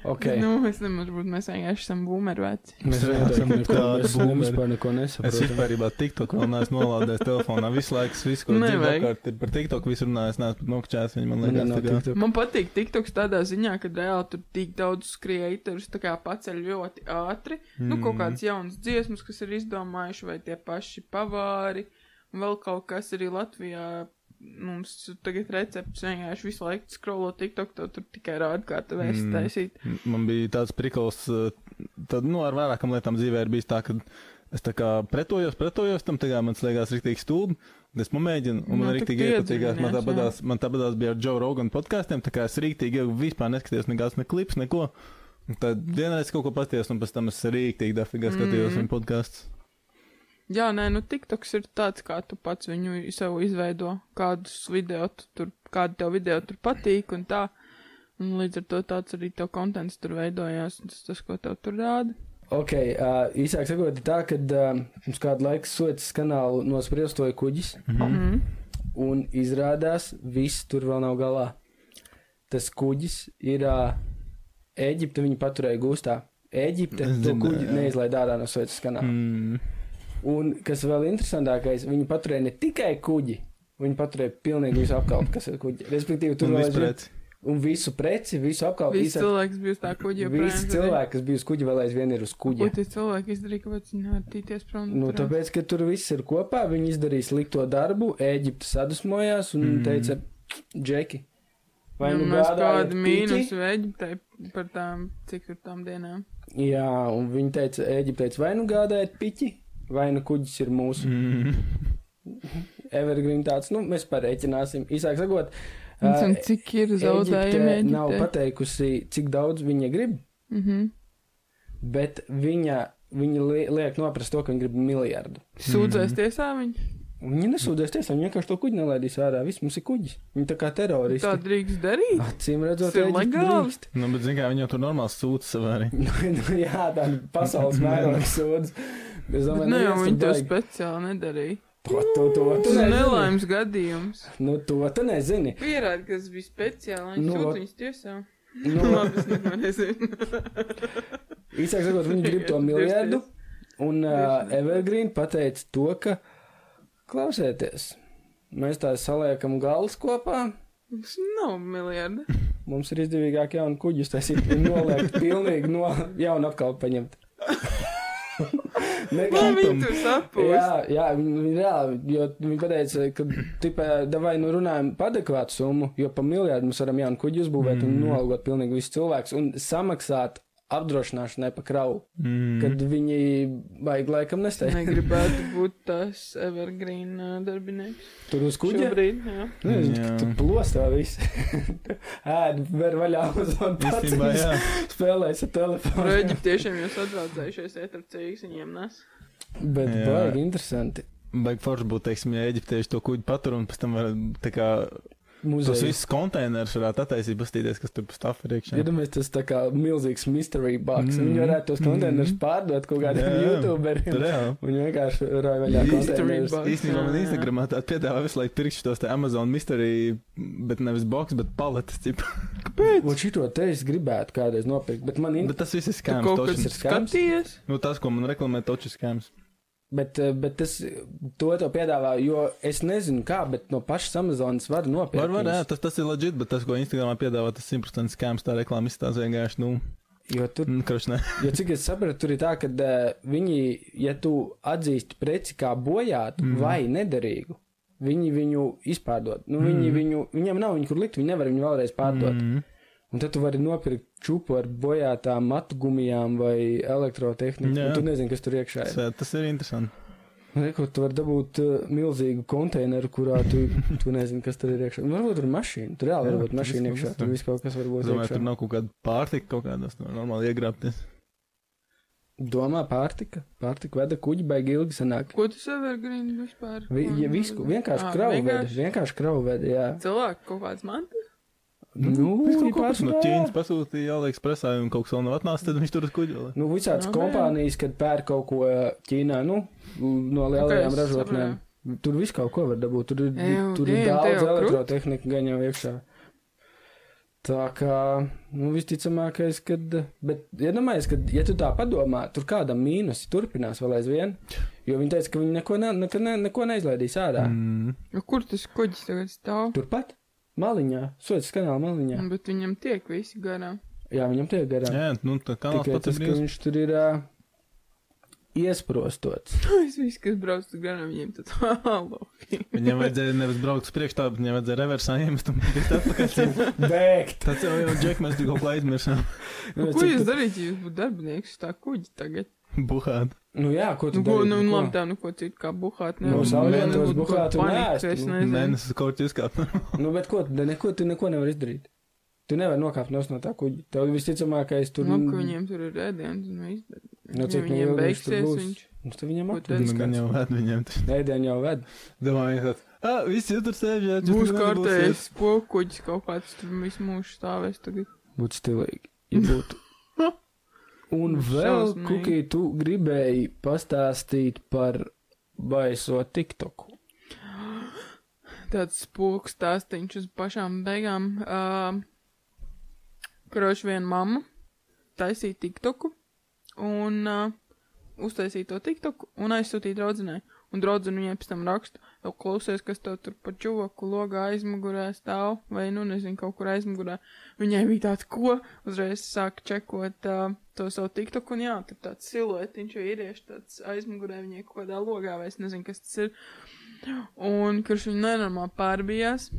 [SPEAKER 2] Okay. Nu,
[SPEAKER 3] nu, es nemaz varbūt mēs vienkārši esam boomer veci.
[SPEAKER 2] mēs
[SPEAKER 1] Jā,
[SPEAKER 2] redzam,
[SPEAKER 1] esam
[SPEAKER 2] ka
[SPEAKER 1] tādi
[SPEAKER 2] tas
[SPEAKER 1] boomeri.
[SPEAKER 2] vispār neko
[SPEAKER 1] Es
[SPEAKER 2] nesaprotam.
[SPEAKER 1] vispār īstenībā TikTok vēl neesmu nolaidējis telefonā. Visu laiku, es visu, ko dzirdu,
[SPEAKER 3] Nevajag.
[SPEAKER 1] apkārt ir par TikTok, visu runāju, es neesmu pat nokčēs viņu, man
[SPEAKER 2] Man
[SPEAKER 1] liekas,
[SPEAKER 2] nav
[SPEAKER 1] tā kā.
[SPEAKER 2] TikTok.
[SPEAKER 3] Man patīk TikToks tādā ziņā, ka reāli tur tik daudz kreatorus tā kā paceļ ļoti ātri. Nu,
[SPEAKER 1] Mm.
[SPEAKER 3] kaut kāds jauns dziesmas, kas ir izdomājuši, vai tie paši pavāri, un vēl kaut kas arī Latvijā. Mums tagad recepts vienkārši visu laiku skrolo TikTok, to tur tikai rāda, kā tu vēsti
[SPEAKER 1] Mm.
[SPEAKER 3] mm. taisīt.
[SPEAKER 1] M- Man bija tāds prikals, uh, tad, nu, ar vairākām lietām dzīvē ir bijis tā, ka es tā kā pretojos, pretojos tam, tagad man tas liekas rīktīgi stulbi. un Es pamēģinu, un man
[SPEAKER 3] Nu, tu
[SPEAKER 1] rīktīgi iepatīkās. Man
[SPEAKER 3] piedzinājies,
[SPEAKER 1] tāpat tās- man tāpat tās bija ar Džo Roganu podkāstiem, tā kā es rīktīgi ilgi vispār neskatījos nekāds ne klips, neko. Un Tad vienreiz kaut ko paties, un pēc tam es rīktīgi dafigā skatījos
[SPEAKER 3] Mm.
[SPEAKER 1] viņa podkāstus.
[SPEAKER 3] Jā, nē, nu TikToks ir tāds, kā tu pats viņu sev izveido, kādus video tu tur, kādu tev video tur patīk un tā. Un līdz ar to tāds arī tev kontents tur veidojās, un tas, tas ko tev tur rāda.
[SPEAKER 2] Ok, uh, īsāk sakot, ir tā, ka uh, mums kādu laiku sots kanālu nospriestoja kuģis,
[SPEAKER 3] Mm.
[SPEAKER 2] un izrādās viss tur vēl nav galā. Tas kuģis ir uh, Eģipte, viņi paturēja gūstā. Eģipte
[SPEAKER 1] Es
[SPEAKER 2] to
[SPEAKER 1] dzirdēju,
[SPEAKER 2] kuģi
[SPEAKER 1] jā.
[SPEAKER 2] neizlaid ārā no Sveicis kanāla.
[SPEAKER 1] Mm.
[SPEAKER 2] Un kas vēl interesantākais, viņi paturēja ne tikai kuģi, viņi paturēja pilnīgi visu apkalpi, kas ir kuģi. Respektīvi, tur
[SPEAKER 1] Un
[SPEAKER 2] vēl
[SPEAKER 1] vispār.
[SPEAKER 2] aizvien- un visu preci, visu apkalpi.
[SPEAKER 3] Viss cilvēks bija uz tā kuģi,
[SPEAKER 2] visi cilvēki, kas bija uz kuģa, vēl aizvien ir uz
[SPEAKER 3] Ko
[SPEAKER 2] kuģa.
[SPEAKER 3] tie cilvēki izdarīja, kāpēc viņi nevar tīties prom no
[SPEAKER 2] Nu,
[SPEAKER 3] turienes?
[SPEAKER 2] tāpēc, ka tur viss ir kopā, viņi izdarīja slikto darbu, Eģipte sadusmojās un mm.
[SPEAKER 1] Mm.
[SPEAKER 2] teica, Džeki, vai
[SPEAKER 3] Nu,
[SPEAKER 2] nu
[SPEAKER 3] mēs
[SPEAKER 2] gādājat
[SPEAKER 3] kādu
[SPEAKER 2] piķi?"
[SPEAKER 3] mīnusu Eģiptei par tām, cik tur tām dienām.
[SPEAKER 2] Jā, un viņi teica, Eģipte teica, vai nu gādājat piķi, vai nu kuģis ir mūsu.
[SPEAKER 1] Mm.
[SPEAKER 2] Evergreen tāds, nu, mēs parēķināsim. Īsāk sakot,
[SPEAKER 3] Uh,
[SPEAKER 2] ā,
[SPEAKER 3] cik ir zaudējumi
[SPEAKER 2] Eģipte nav
[SPEAKER 3] Eģiptei?
[SPEAKER 2] pateikusi, cik daudz viņa grib,
[SPEAKER 3] Mhm.
[SPEAKER 2] bet viņa, viņa li- liek noprast to, ka viņa grib miljardu.
[SPEAKER 3] Sūdzēs
[SPEAKER 1] Mhm.
[SPEAKER 3] tiesā viņu.
[SPEAKER 2] Viņa nesūdzēs tiesā, viņa vienkārši to kuģi nelaidīs ārā. Viss mums ir kuģis. Viņa tā kā teroristi.
[SPEAKER 3] Tā drīkst darīt.
[SPEAKER 2] Acīm redzot,
[SPEAKER 3] Tas ir
[SPEAKER 2] Eģipte
[SPEAKER 3] legāli.
[SPEAKER 2] drīkst.
[SPEAKER 1] Nu, bet, zināmā mērā, viņi jau tur normāli sūta sev arī.
[SPEAKER 2] Nu, nu, Jā, tā ir pasaules mēroga sūdzība. Es
[SPEAKER 3] Bet
[SPEAKER 2] domāju,
[SPEAKER 3] ne jau
[SPEAKER 2] neviens tur
[SPEAKER 3] viņi to
[SPEAKER 2] baigi-
[SPEAKER 3] speciāli nedarīja.
[SPEAKER 2] Ko tu to tu
[SPEAKER 3] Tas ir
[SPEAKER 2] nezini?
[SPEAKER 3] nelaimes gadījums.
[SPEAKER 2] Nu, to tu nezini.
[SPEAKER 3] Pierādi, ka tas bija speciāli, lai
[SPEAKER 2] Nu,
[SPEAKER 3] sūtu
[SPEAKER 2] vot.
[SPEAKER 3] viņus tiesā.
[SPEAKER 2] Nu,
[SPEAKER 3] Labi, es neko nezinu.
[SPEAKER 2] Īsāk sakot, viņi grib to miljardu. Un uh, Evergreen pateica to, ka klausieties, mēs tā saliekam galus kopā.
[SPEAKER 3] Mums nav miljardu.
[SPEAKER 2] Mums ir izdevīgāk jaunu kuģu taisīt, un noliekt pilnīgi no jaunu atkal paņemt.
[SPEAKER 3] Kā
[SPEAKER 2] Nekā-
[SPEAKER 3] viņi tur
[SPEAKER 2] Jā,
[SPEAKER 3] sapūst?
[SPEAKER 2] jā, viņi reāli, jo viņi teica, ka, tipā, davai, nu runājam par adekvātu summu, jo par miljardu mēs varam jaunu kuģi uzbūvēt mm. un nolgot pilnīgi visus cilvēkus un samaksāt apdrošināšanai pa kravu, mm. kad viņi vajag laikam nesteikt.
[SPEAKER 3] Negribētu būt tas Evergreen ā, darbinieks.
[SPEAKER 2] Tur uz kuģa.
[SPEAKER 3] Šobrīd, jā.
[SPEAKER 2] Nezinu,
[SPEAKER 1] Jā.
[SPEAKER 2] tu plostā viss. Ēd, ver vaļā uz un pats
[SPEAKER 1] Īstenībā, jā.
[SPEAKER 2] spēlēs ar
[SPEAKER 3] Ar
[SPEAKER 2] telefonu.
[SPEAKER 3] eģiptiešiem jūs atbraucējušies iet ar cīgs viņiem nes.
[SPEAKER 2] Bet
[SPEAKER 1] Jā.
[SPEAKER 2] baigi interesanti.
[SPEAKER 1] Baigi forši būtu, teiksim, ja eģiptieši to kuģi patur un pēc tam var tā kā tos
[SPEAKER 2] Muzejs.
[SPEAKER 1] visus konteinerus varētu attaisīt, paskatīties, kas tur pastāv ir iekšā.
[SPEAKER 2] Iedomājieties, tas tā kā milzīgs mystery box. Mm.
[SPEAKER 1] Mm.
[SPEAKER 2] Viņi varētu tos konteinerus mm. pārdot kaut kādam
[SPEAKER 1] Jā, jā.
[SPEAKER 2] YouTuberim.
[SPEAKER 1] Reāli.
[SPEAKER 2] Viņi vienkārši rāja vaļā
[SPEAKER 1] Mystery
[SPEAKER 2] konteinerus.
[SPEAKER 3] box.
[SPEAKER 1] Īstenībā man
[SPEAKER 3] Jā, jā.
[SPEAKER 1] Instagramā tā piedāvā visu laiku pirkšu tos te Amazon mystery, bet nevis box, bet paletes. tipa.
[SPEAKER 2] Un šito te es gribētu kādreiz nopirkt, bet man ir.
[SPEAKER 1] Bet tas viss ir
[SPEAKER 3] Tu
[SPEAKER 1] skāms.
[SPEAKER 3] kaut
[SPEAKER 1] točs.
[SPEAKER 3] kas ir
[SPEAKER 2] ir skams.
[SPEAKER 3] skatījies?
[SPEAKER 1] Nu, tas, ko man reklamē, točs ir skāms.
[SPEAKER 2] Bet, eh, bet tas to tev piedāvā, jo es nezinu kā, bet no pašas Amazonas var nopirkt.
[SPEAKER 1] Var, var, jā,
[SPEAKER 2] viņus.
[SPEAKER 1] tas, tas ir leģit, bet tas, ko Instagramā piedāvā, tas 100% skāms. Tā reklāma izstāsta vienkārši, nu,
[SPEAKER 2] Jo tur
[SPEAKER 1] mm, krošnē.
[SPEAKER 2] Jo cik es sapratu, tur ir tā, ka uh, viņi, ja tu atzīsti preci kā bojātu
[SPEAKER 1] Mhm.
[SPEAKER 2] mm. vai nederīgu, viņi viņu izpārdod. Nu,
[SPEAKER 1] Mhm.
[SPEAKER 2] viņi, mm. viņu, viņiem nav viņu kur likt, viņi nevar viņu vēlreiz pārdot. Mm. Un tad tu vari nopirkt čūpu ar bojātām matu gumijām vai elektrotehniku.
[SPEAKER 1] Jā.
[SPEAKER 2] un Tu nezini, kas tur iekšā ir.
[SPEAKER 1] Tas, tas ir interesanti.
[SPEAKER 2] Reikot, Nu, tu vari dabūt uh, milzīgu konteineru, kurā tu, tu nezini, kas tur ir iekšā. Nu, Varbūt tur ir mašīna, tur
[SPEAKER 1] Jā,
[SPEAKER 2] reāli var būt
[SPEAKER 1] tur
[SPEAKER 2] mašīna
[SPEAKER 1] viss kaut
[SPEAKER 2] iekšā,
[SPEAKER 1] kas tur.
[SPEAKER 2] tur viss kaut kas var
[SPEAKER 1] Es
[SPEAKER 2] būt
[SPEAKER 1] domāju, tur
[SPEAKER 2] iekšā.
[SPEAKER 1] nav kaut kāda pārtika kaut kādas, nu, normāli iegrābties.
[SPEAKER 2] Domā pārtika, pārtika veda kuģi baigi ilgi sanāk.
[SPEAKER 3] Ko tu Evergreen vispār?
[SPEAKER 2] Vi, ja visu,
[SPEAKER 3] Ah,
[SPEAKER 2] vienkārši krauvedi, vienkārši krauvedi, jā.
[SPEAKER 3] Cilvēku kaut kāds mantas?
[SPEAKER 2] Nu,
[SPEAKER 1] Viņš
[SPEAKER 2] ir
[SPEAKER 1] kaut kas no
[SPEAKER 2] pārsvarā.
[SPEAKER 1] Ķīnas pasūtīja AliExpressā, un kaut kas vēl nav atnācis, tad viņš tur uz kuģi vēl. ir.
[SPEAKER 2] Nu, visādas no,
[SPEAKER 3] Nu, jā.
[SPEAKER 2] kompānijas, kad pērk kaut ko Ķīnā, nu, no lielajām
[SPEAKER 3] es
[SPEAKER 2] okay, ražotnēm. Tur viss kaut ko var dabūt. Tur ir,
[SPEAKER 3] Ew,
[SPEAKER 2] tur ir
[SPEAKER 3] diem,
[SPEAKER 2] daudz
[SPEAKER 3] tev krūt.
[SPEAKER 2] elektrotehnika gan jau iekšā. Tā kā, nu, visticamākais, kad, bet, iedomājies, ka, ja tu tā padomā, tur kādam mīnusi turpinās vēl aizvien, jo viņi teica, ka viņi neko, ne, neko, ne, neko neizlaidīs ārā. Mm.
[SPEAKER 1] Mm.
[SPEAKER 3] Nu, kur tas kuģis tagad stāv?
[SPEAKER 2] Turpat, maliņā, soļas kanāla maliņā.
[SPEAKER 3] Bet viņam tiek visi garām.
[SPEAKER 2] Jā, viņam tiek garām.
[SPEAKER 1] Jā, nu, tā kanāls
[SPEAKER 2] Tikai
[SPEAKER 1] pats
[SPEAKER 2] tas,
[SPEAKER 1] ir
[SPEAKER 2] ka
[SPEAKER 1] brīvs.
[SPEAKER 2] viņš tur ir uh, iesprostots.
[SPEAKER 3] Es visu, kas brauc uz garām, viņiem tad halo.
[SPEAKER 1] Viņam vajadzēja nevis braukt uz priekšu, tā, bet viņam vajadzēja reversā iemest un tikt atpakaļ.
[SPEAKER 2] Bēgt!
[SPEAKER 1] Tad jau jau Džek, mēs tikko aizmirsām.
[SPEAKER 3] Nu, ko jūs darītu, ja jūs būtu darbinieks uz tā kuģa tagad?
[SPEAKER 1] Buhāt.
[SPEAKER 2] Nu jā, ko tu
[SPEAKER 3] Nu, ko,
[SPEAKER 2] dari?
[SPEAKER 3] nu,
[SPEAKER 2] Ko?
[SPEAKER 3] un labi, tā, nu, ko citu kā buhāt.
[SPEAKER 2] Nu,
[SPEAKER 1] uz augļiem
[SPEAKER 2] tos buhāt un ēst,
[SPEAKER 3] es
[SPEAKER 2] nu.
[SPEAKER 3] nezinu.
[SPEAKER 1] Mēnesis kaut kā izkāpa.
[SPEAKER 2] Nu, bet ko, tu- neko, tu neko nevar izdarīt. Tu nevari nokāpt no no tā kuģa. Tev visticamākais tur...
[SPEAKER 3] Nu, ka viņiem tur ir ēdienas un viss. bet
[SPEAKER 2] Nu,
[SPEAKER 3] ja
[SPEAKER 2] cik
[SPEAKER 3] viņiem
[SPEAKER 2] neilgi viņš tur
[SPEAKER 3] beigsies,
[SPEAKER 2] būs?
[SPEAKER 3] viņš.
[SPEAKER 2] Nu, tu viņam
[SPEAKER 3] Ko
[SPEAKER 1] Nu,
[SPEAKER 2] atradīs
[SPEAKER 1] gan jau
[SPEAKER 2] kāds.
[SPEAKER 1] vēd viņiem. taču.
[SPEAKER 2] Ēdienu jau ved.
[SPEAKER 1] Domāju, ka tāds, ah, viss jau tur sēž, jā, četri
[SPEAKER 3] Būs
[SPEAKER 1] gadi
[SPEAKER 3] kārtējis kokuģis kaut kāds tur visu mūžu stāvēs tagad.
[SPEAKER 2] Būtu stilīgi, ja būtu. Un
[SPEAKER 3] Nu,
[SPEAKER 2] vēl,
[SPEAKER 3] šausmīgi.
[SPEAKER 2] Kukī, tu gribēji pastāstīt par baiso TikToku.
[SPEAKER 3] Tāds spoks stāstīņš uz pašām beigām. Uh, Kroši vien mamma taisīja tiktoku un uh, uztaisīja to tiktoku un aizsūtīja draudzenei. Un draudzene viņai pēc tam raksta, jau klausies, kas tev tur par čuvaku logā aizmugurē stāv, vai nu nezinu, kaut kur aizmugurē. Viņai bija tāds, ko uzreiz sāka čekot uh, to savu tiktoku, un jā, tur tāds siluetiņš, jo īrieši tāds aizmugurē viņai kaut kādā logā, vai es nezinu, kas tas ir. Un kurš viņa nenormāli pārbijās.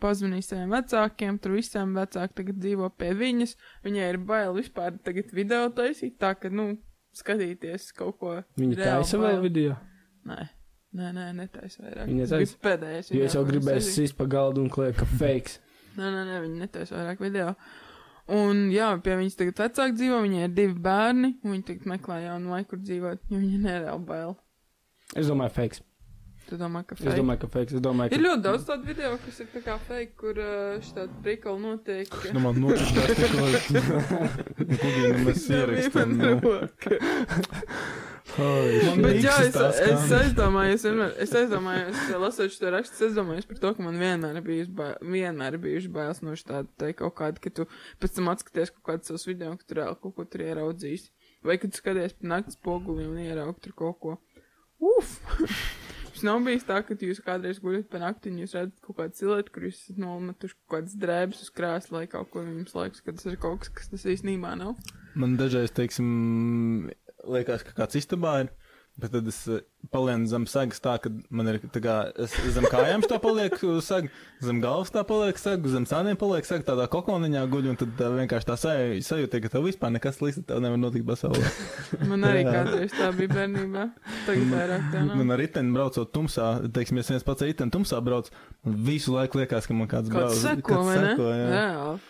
[SPEAKER 3] Pazvanīja saviem vecākiem, tur visiem vecāki tagad dzīvo pie viņas. Viņai ir bail vispār tagad video taisīt, tā ka, nu, skatīties kaut ko.
[SPEAKER 2] Viņa
[SPEAKER 3] reāli
[SPEAKER 2] taisa vēl
[SPEAKER 3] bail.
[SPEAKER 2] video.
[SPEAKER 3] Nē, nē, nē, netaisa vairāk.
[SPEAKER 2] Viņa
[SPEAKER 3] Tas
[SPEAKER 2] taisa-
[SPEAKER 3] bija pēdējais.
[SPEAKER 2] Jo
[SPEAKER 3] video,
[SPEAKER 2] es jau
[SPEAKER 3] ko
[SPEAKER 2] gribēju
[SPEAKER 3] taisīju.
[SPEAKER 2] sist pa galdu un klēju, ka fakes.
[SPEAKER 3] Nē, nē, nē, viņi netaisa vairāk video. Un, jā, pie viņas tagad vecāki dzīvo, viņai ir divi bērni, un viņi tagad meklē jaunu laiku, kur dzīvot, jo viņa nereāli bail.
[SPEAKER 2] Es domāju, fakes.
[SPEAKER 3] Tu domā, ka
[SPEAKER 2] Es domāju, ka fakes. Es domāju,
[SPEAKER 3] Ir
[SPEAKER 2] ka...
[SPEAKER 3] ļoti daudz tādu video, kas ir tā kā fake, kur uh, šādi prikoli notiek.
[SPEAKER 1] Nu, man nokristās tikko. Kuģi, nu, mēs ierakstam. nu.
[SPEAKER 3] Ierakstam. Bet jā,
[SPEAKER 1] Tiksas
[SPEAKER 3] es,
[SPEAKER 1] tās
[SPEAKER 3] es
[SPEAKER 1] kādas.
[SPEAKER 3] aizdomājos, vienmēr, es aizdomājos, eh, lasot šo rakstu, es aizdomājos par to, ka man vienmēr ir bijuši, ba vienmēr ir bijuši bailes no šāda te kaut kāda, ka tu pēc tam atskaties kaut kādus savus video, ka tur reāli kaut ko tur ieraudzīsi. Vai kad tu skaties pa naktas poguli un ieraugi tur kaut ko. Uf! Šis nav bijis tā, ka jūs kādreiz guļat pa nakti un jūs redzat kaut kādu cilvēku, kur jūs esat nometuši kaut kādas drēbes uz krēslu, lai kaut ko jums liekas, ka tas ir kaut kas, kas tas īstenībā nav.
[SPEAKER 1] Man dažreiz, teiksim, liekas, ka kāds istabā ir. Bet tad es eh, palieku zem sagas, tā ka man ir tā kā es zem kājām tā paliek saga, zem galvas tā paliek saga, zem sāniem paliek saga, tādā kokoniņā guļ, un tad tā vienkārši tā saj- sajūta, ka tev vispār nekas līdzi tev nevar notikt pasaulē.
[SPEAKER 3] Man arī
[SPEAKER 1] Jā.
[SPEAKER 3] kādreiz tā bija bērnībā. Tagad vairāk tā nav.
[SPEAKER 1] Man ar riteni braucot tumsā, teiksim, es viens pats ar riteni tumsā brauc, un visu laiku liekas, ka man kāds brauc.
[SPEAKER 3] Kāds seko, vai ne?
[SPEAKER 1] seko, jā.
[SPEAKER 3] Reāli.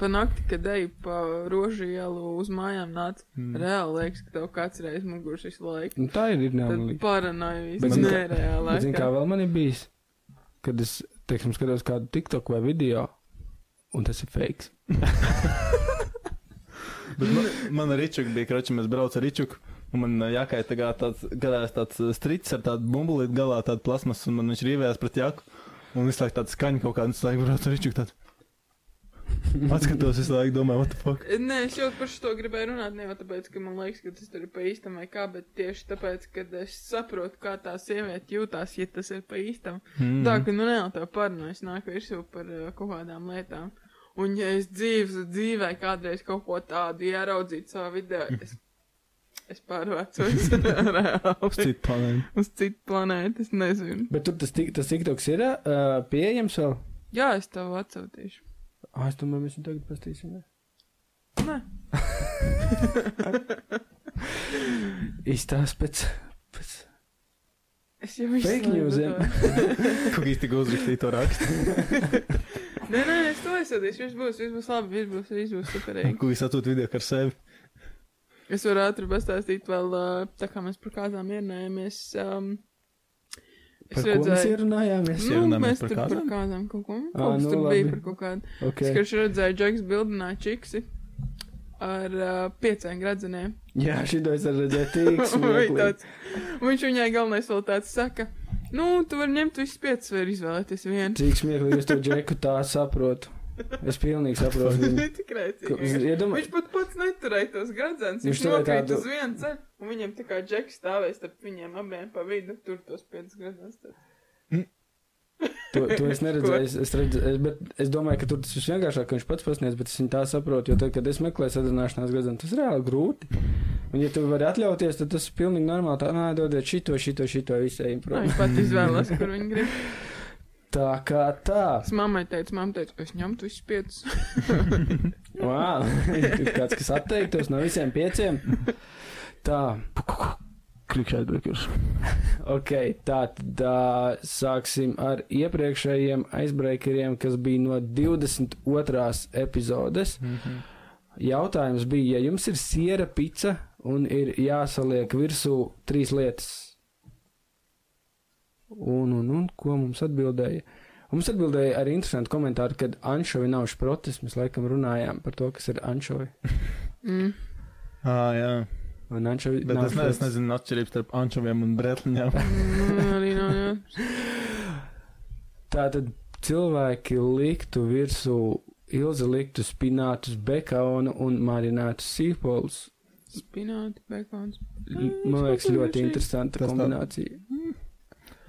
[SPEAKER 3] Pa nakti, kad eju pa rožu ielu uz mājām nāc, mm. reāli liekas, ka tev kāds ir aiz muguras visu laiku.
[SPEAKER 2] Nu, tā ir
[SPEAKER 3] Tad
[SPEAKER 2] īrnāma.
[SPEAKER 3] paranoja
[SPEAKER 2] Bet
[SPEAKER 3] viss
[SPEAKER 2] zini, kā-
[SPEAKER 3] nereāli.
[SPEAKER 2] Bet, zin, kā vēl man ir bijis, kad es, teiksim, skatos kādu TikTok vai video, un tas ir fakes.
[SPEAKER 1] Bet man, man ar Ričuku bija krači, mēs braucām ar Ričuku. Un man eh, jākai tā kā tāds garās tāds eh, strīds ar tādu bumbulīti galā, tādu plasmas, un man viņš rīvējās pret jāku. Un visu laiku tāda skaņa kaut kāda, un es laiku braucu ar Ričuku tādu. Atskatos, visu laiku domāju, what the fuck.
[SPEAKER 3] Nē, es jau par šo gribēju runāt, nevis tāpēc, ka man liekas, ka tas tur ir pa īstam vai kā, bet tieši tāpēc, ka es saprotu, kā tā sieviete jūtās, ja tas ir pa īstam.
[SPEAKER 2] Mhm.
[SPEAKER 3] Mm. Tā ka, nu, nē, tā parunājas, nāk virsū par uh, kaut kādām lietām. Un, ja es dzīves, dzīvē kādreiz kaut ko tādu ieraudzītu savā video,
[SPEAKER 2] Mhm.
[SPEAKER 3] es, es pārvācos
[SPEAKER 1] Uz
[SPEAKER 3] reāli
[SPEAKER 1] citu planētu.
[SPEAKER 3] uz citu planētu, es nezinu.
[SPEAKER 2] Bet tur tas, tik- tas TikToks ir uh, pieejams vēl?
[SPEAKER 3] Jā, es tev atsautīšu.
[SPEAKER 2] Ah, es domāju, mēs viņu tagad pastīsim. ne?
[SPEAKER 3] Nē,
[SPEAKER 2] Izstāst pēc. pēc...
[SPEAKER 3] es jau visu
[SPEAKER 2] Fake
[SPEAKER 3] laiku
[SPEAKER 2] newsiem.
[SPEAKER 3] domāju.
[SPEAKER 1] Kaut kā īsti uzrakstīja to rakstu.
[SPEAKER 3] Nē, nē, es to aizsūtīšu. Viss būs, viss būs labi, viss būs, viss būs superīgi.
[SPEAKER 1] Kaut kā satūt video ar sevi.
[SPEAKER 3] Es varu ātri pastāstīt vēl, ā, tā kā mēs par kāzām ierunājamies. Um, es
[SPEAKER 2] Par ko mēs
[SPEAKER 3] redzēju,
[SPEAKER 2] ierunājāmies?
[SPEAKER 1] Mēs
[SPEAKER 3] nu,
[SPEAKER 1] ierunājamies
[SPEAKER 3] mēs
[SPEAKER 1] par
[SPEAKER 3] tur par
[SPEAKER 1] kāzām?
[SPEAKER 3] kāzām kaut ko.
[SPEAKER 2] Ā,
[SPEAKER 3] Kaut kas
[SPEAKER 2] nu,
[SPEAKER 3] tur
[SPEAKER 2] labi.
[SPEAKER 3] bija par kaut kādu. Es
[SPEAKER 2] Okay.
[SPEAKER 3] karš redzēju, Džeks bildināja čiksi ar uh, pieciem gradzeniem.
[SPEAKER 2] Jā, šī to es arī redzēju. Tīks,
[SPEAKER 3] Un bija
[SPEAKER 2] smieklīgi.
[SPEAKER 3] tāds- un Viņš viņai galvenais vēl tāds saka, nu, tu vari ņemt visus piecus vai izvēlēties vienu.
[SPEAKER 2] Cik smieklīgi es to džeku tā saprotu. Es pilnīgi saprotu viņu.
[SPEAKER 3] Tik
[SPEAKER 2] Ko-
[SPEAKER 3] rēcīgi.
[SPEAKER 2] Iedomā...
[SPEAKER 3] Viņš pat pats neturēja tos gradzenus.
[SPEAKER 2] Viņš
[SPEAKER 3] Viņš
[SPEAKER 2] turēja
[SPEAKER 3] nokrita
[SPEAKER 2] tādu-
[SPEAKER 3] tādu... uz vienu ceļu, un viņam tā kā džeks stāvēja starp viņiem abiem pa vidu, tur tos piecus gradzenus. tad-
[SPEAKER 2] To, to es neredzēju, es, es, redz, es, bet es domāju, ka tur tas visvienkāršāk, ka viņš pats pasniedz, bet es viņu tā saprotu, jo tad, kad es meklēju sadarbināšanās gadu, tas ir reāli grūti. Un, ja tu vari atļauties, tad tas ir pilnīgi normāli. Tā, nē, dodiet šito, šito, šito, visai
[SPEAKER 3] Nu,
[SPEAKER 2] improvizu.
[SPEAKER 3] Viņš pat izvēlējās, kur viņa grib.
[SPEAKER 2] Tā kā tā.
[SPEAKER 3] Es mammai teicu, mamma teica, es ņemtu visus piecus.
[SPEAKER 2] Wow. Kāds, kas atteiktos no visiem pieciem. Tā,
[SPEAKER 1] Klikšķēt breakers.
[SPEAKER 2] ok, tā tad ā, sāksim ar iepriekšējiem aizbreakeriem, kas bija no 22. epizodes. Jautājums bija, ja jums ir siera pica un ir jāsaliek virsū trīs lietas. Un, un, un ko mums atbildēja? Mums atbildēja arī interesanti komentāri, kad anšovi nav šprotis. Mēs laikam runājām par to, kas ir anšovi.
[SPEAKER 3] Mm.
[SPEAKER 1] Ā, jā.
[SPEAKER 2] Un anšovi
[SPEAKER 1] Bet
[SPEAKER 2] nav
[SPEAKER 1] es, ne, es
[SPEAKER 2] šprotis.
[SPEAKER 1] nezinu atšķirības starp ančoviem un bretliņām.
[SPEAKER 3] Nu, arī nav jau.
[SPEAKER 2] Tātad cilvēki liktu virsū ilzi liktu spinātus, bekānu un marinātus sīpolus.
[SPEAKER 3] Spināti, bekons.
[SPEAKER 2] L- Man liekas, ļoti interesanta
[SPEAKER 1] Tas tā-
[SPEAKER 2] kombinācija.